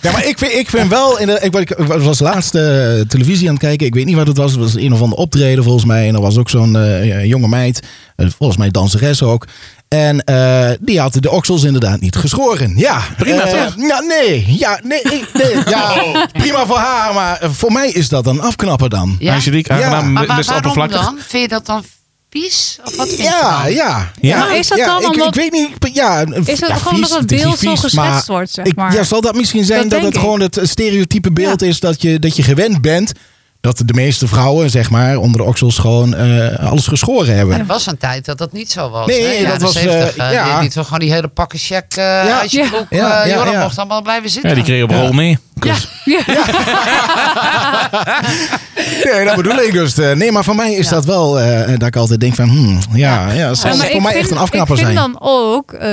Ja, maar ik vind, ik vind wel. In de, ik, ik was laatst eh, televisie aan het kijken. Ik weet niet wat het was. Het was een of ander optreden volgens mij. En er was ook zo'n eh, jonge meid. eh, volgens mij danseres ook. En eh, die had de oksels inderdaad niet geschoren. Ja, Prima, Eh, toch? Oh. Ja, nee. Ja, nee. ik- nee, ja, prima voor haar. Maar eh, voor mij is dat een afknapper dan. Ja? Angelique, Ja. aangenaam, Maar waar- best waarom oppervlakkig. dan? Vind je dat dan vies? Of wat vind je Ja, dan? ja, Ja. Maar is dat dan ik, omdat- ik weet niet. Ja, Is het gewoon dat het beeld zo geschetst wordt, zeg Ik- maar? ja, zal dat misschien zijn Dat dat, denk het ik. gewoon het stereotype beeld is dat je, dat je gewend bent dat de meeste vrouwen, zeg maar, onder de oksels gewoon eh, alles geschoren hebben. Maar er was een tijd dat dat niet zo was. Nee, hè? dat Jaren was, eh, 70, eh, ja. Die, die toch gewoon die hele pakken check eh Ja. uit je Ja. broek. Ja, eh, ja, joh, dat ja. mocht allemaal blijven zitten. Ja, die kreeg op Dus rol mee. Kus. Ja. Nee, dat bedoel ik dus. eh, nee, maar voor mij is Ja. dat wel eh, dat ik altijd denk van, hmm, ja, ja, Ja, zou maar het voor mij echt een afknapper ik vind zijn. dan ook, eh,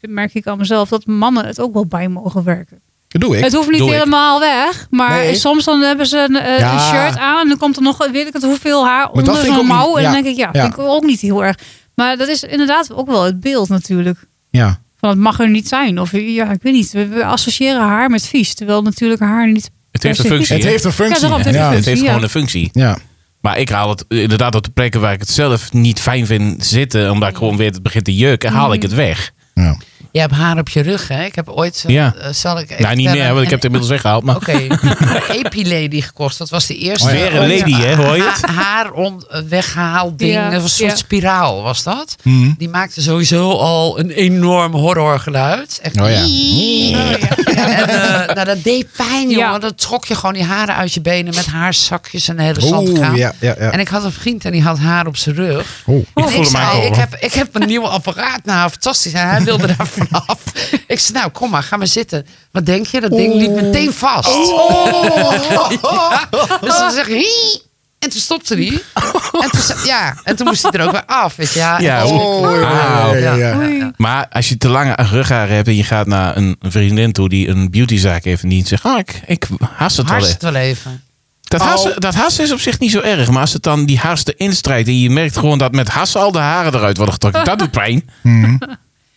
merk ik aan mezelf, dat mannen het ook wel bij mogen werken. Dat doe ik. het hoeft niet doe ik. helemaal weg, maar Nee. soms dan hebben ze een, eh, Ja. een shirt aan en dan komt er nog weet ik het hoeveel haar dat onder vind ik ook zo'n niet- mouw. En ja. dan denk ik, ja, Ja. vind ik ook niet heel erg. Maar dat is inderdaad ook wel het beeld natuurlijk. Ja. Van het mag er niet zijn. Of ja, ik weet niet. We, we associëren haar met vies. Terwijl natuurlijk haar niet. Het heeft een Precies. functie. Het hè? heeft een functie. daarom, het heeft ja. een Het heeft Ja. gewoon een functie. Ja. Maar ik haal het eh, inderdaad op de plekken waar ik het zelf niet fijn vind zitten. Omdat ik gewoon weer het begint te jeuken, haal Mm. ik het weg. Ja. Je hebt haar op je rug, hè? Ik heb ooit... zo- Ja. eh, zal ik even Nou, niet vertellen? meer, want ik heb het inmiddels weggehaald. Maar Oké, een Epilady gekocht. Dat was de eerste. Oh ja. weer een lady, hè, hoor je het? Ha- haar om weggehaald ding. Ja, Een soort ja. spiraal was dat. Mhm. Die maakte sowieso al een enorm horrorgeluid. Echt Oh ja. Ah, En, eh, nou, dat deed pijn, Ja. jongen. Dat trok je gewoon die haren uit je benen met haarzakjes en de hele Oeh, zandkraan. ja, ja, ja. En ik had een vriend en die had haar op zijn rug. Oeh. Ik En voel hem zei, Oh, ik aankomen. heb, ik heb een nieuw apparaat. Nou, fantastisch. En hij wilde daar vanaf. Ik zei, nou, kom maar, ga maar zitten. Wat denk je? Dat ding liep meteen vast. Ja, dus dan zeg je, "Hie." En toen stopte hij. En toen, zei- ja, en toen moest hij er ook weer af. Weet je. Ja, en Ja, Ah, oh. dat was oeh. verschrikkelijk. ja, ja, ja. Oei. Maar als je te lange rughaar hebt en je gaat naar een vriendin toe die een beautyzaak heeft en die zegt, ah, ik, ik haast het wel. hè. Hartstikke wel even. Dat, Oh. hassen, dat hassen is op zich niet zo erg, maar als het dan die haast erin strijdt en je merkt gewoon dat met hassen al de haren eruit worden getrokken, dat doet pijn. Mhm.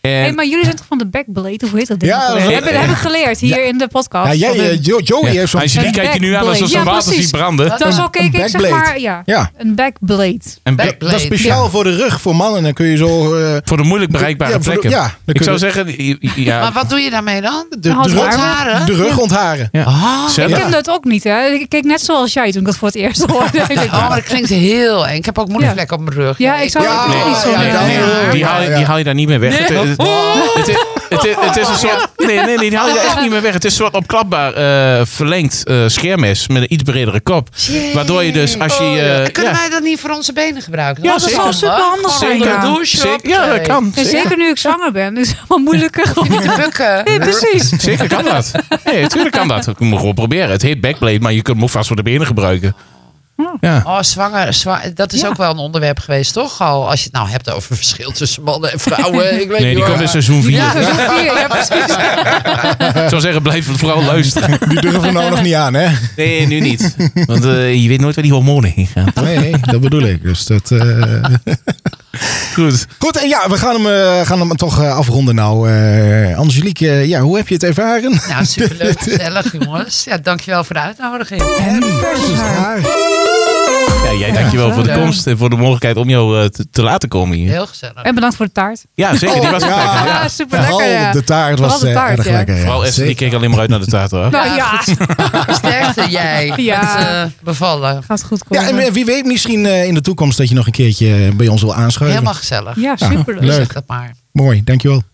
En, Hey, maar jullie zijn toch van de backblade? Of hoe heet dat ding? Ja, ook alweer? dat- hebben, dat hebben we geleerd hier in de podcast. Ja, jij, Van de- eh, Jo- Joey heeft zo'n... als je die kijkt je nu aan alsof ze Ja, water precies. ziet branden. Dat zo keek ik zeg backblade. maar, ja, Ja. een backblade. En Back- Dat is Blade, speciaal voor de rug, voor mannen. Dan kun je zo... eh, Voor de moeilijk bereikbare Ja, voor de- plekken. ja, dan ik kun zou je- zeggen, i- i- ja, Maar wat doe je daarmee dan? de, Nou, de als rug, haren. de rug ontharen. ja. Ah. Zet- Ik Ja. kende het ook niet, hè? Ik keek net zoals jij toen ik dat voor het eerst hoorde. Ik denk, Oh, maar dat klinkt heel eng. Ik heb ook moedervlekken op mijn rug. Ja, ik zou Oh, Ja, het ook Nee, niet zo ja, nee, doen. ja, nee, ja, die, haal, ja. die haal je daar niet meer weg. Het, het, het, het- het- het is een soort. Nee, nee, nee, die haal je daar echt niet meer weg. Het is een soort opklapbaar eh, verlengd eh scheermes met een iets bredere kop. Jee. Waardoor je dus als je. Oh, eh, ja. Kunnen Oh ja, wij dat niet voor onze benen gebruiken? Ja, Want dat is zou toch superhandig wel zijn, onder ja. de douche zeker- op, ja, dat eh, kan. En Zeker, zeker nu ik zwanger ben, is het wel moeilijker. om- Te bukken. Nee, precies. zeker kan dat. Nee, tuurlijk kan dat. Ik moet gewoon proberen. Het heet backblade, maar je kunt hem ook vast voor de benen gebruiken. Ja. Oh, zwanger, zwa- dat is Ja. ook wel een onderwerp geweest, toch? Al, als je het nou hebt over verschil tussen mannen en vrouwen. Ik weet Nee, die niet hoor. komt dus in seizoen 4. Ja, seizoen vier, ja, precies. Ik zou zeggen, blijf vooral luisteren. Die durven we nou nog niet aan, hè? Nee, nu niet. Want eh, je weet nooit waar die hormonen heen gaan. Nee, dat bedoel ik. Dus dat... eh, Goed. Goed, en ja, we gaan hem, eh, gaan hem toch eh, afronden nou. Eh, Angelique, eh, ja, hoe heb je het ervaren? Nou, superleuk, gezellig jongens. Ja, dankjewel voor de uitnodiging. versus haar. Ja, jij dankjewel voor de Ja. komst en voor de mogelijkheid om jou eh, te, te laten komen hier. Heel gezellig. En bedankt voor de taart. Ja, zeker. Die was Oh, ook lekker. ja. Ja, super Vooral lekker. Ja. de taart Vooral was de eh, taart, erg ja. lekker. ja. Vooral Esther, die Zeker. keek alleen maar uit naar de taart hoor. Nou ja, Ja, Sterkte jij Ja. met eh, bevallen. gaat goed komen. Ja, en eh, wie weet misschien eh, in de toekomst dat je nog een keertje eh, bij ons wil aanschuiven. Helemaal gezellig. Ja, superleuk. leuk. Zeg dat maar. Mooi, dankjewel.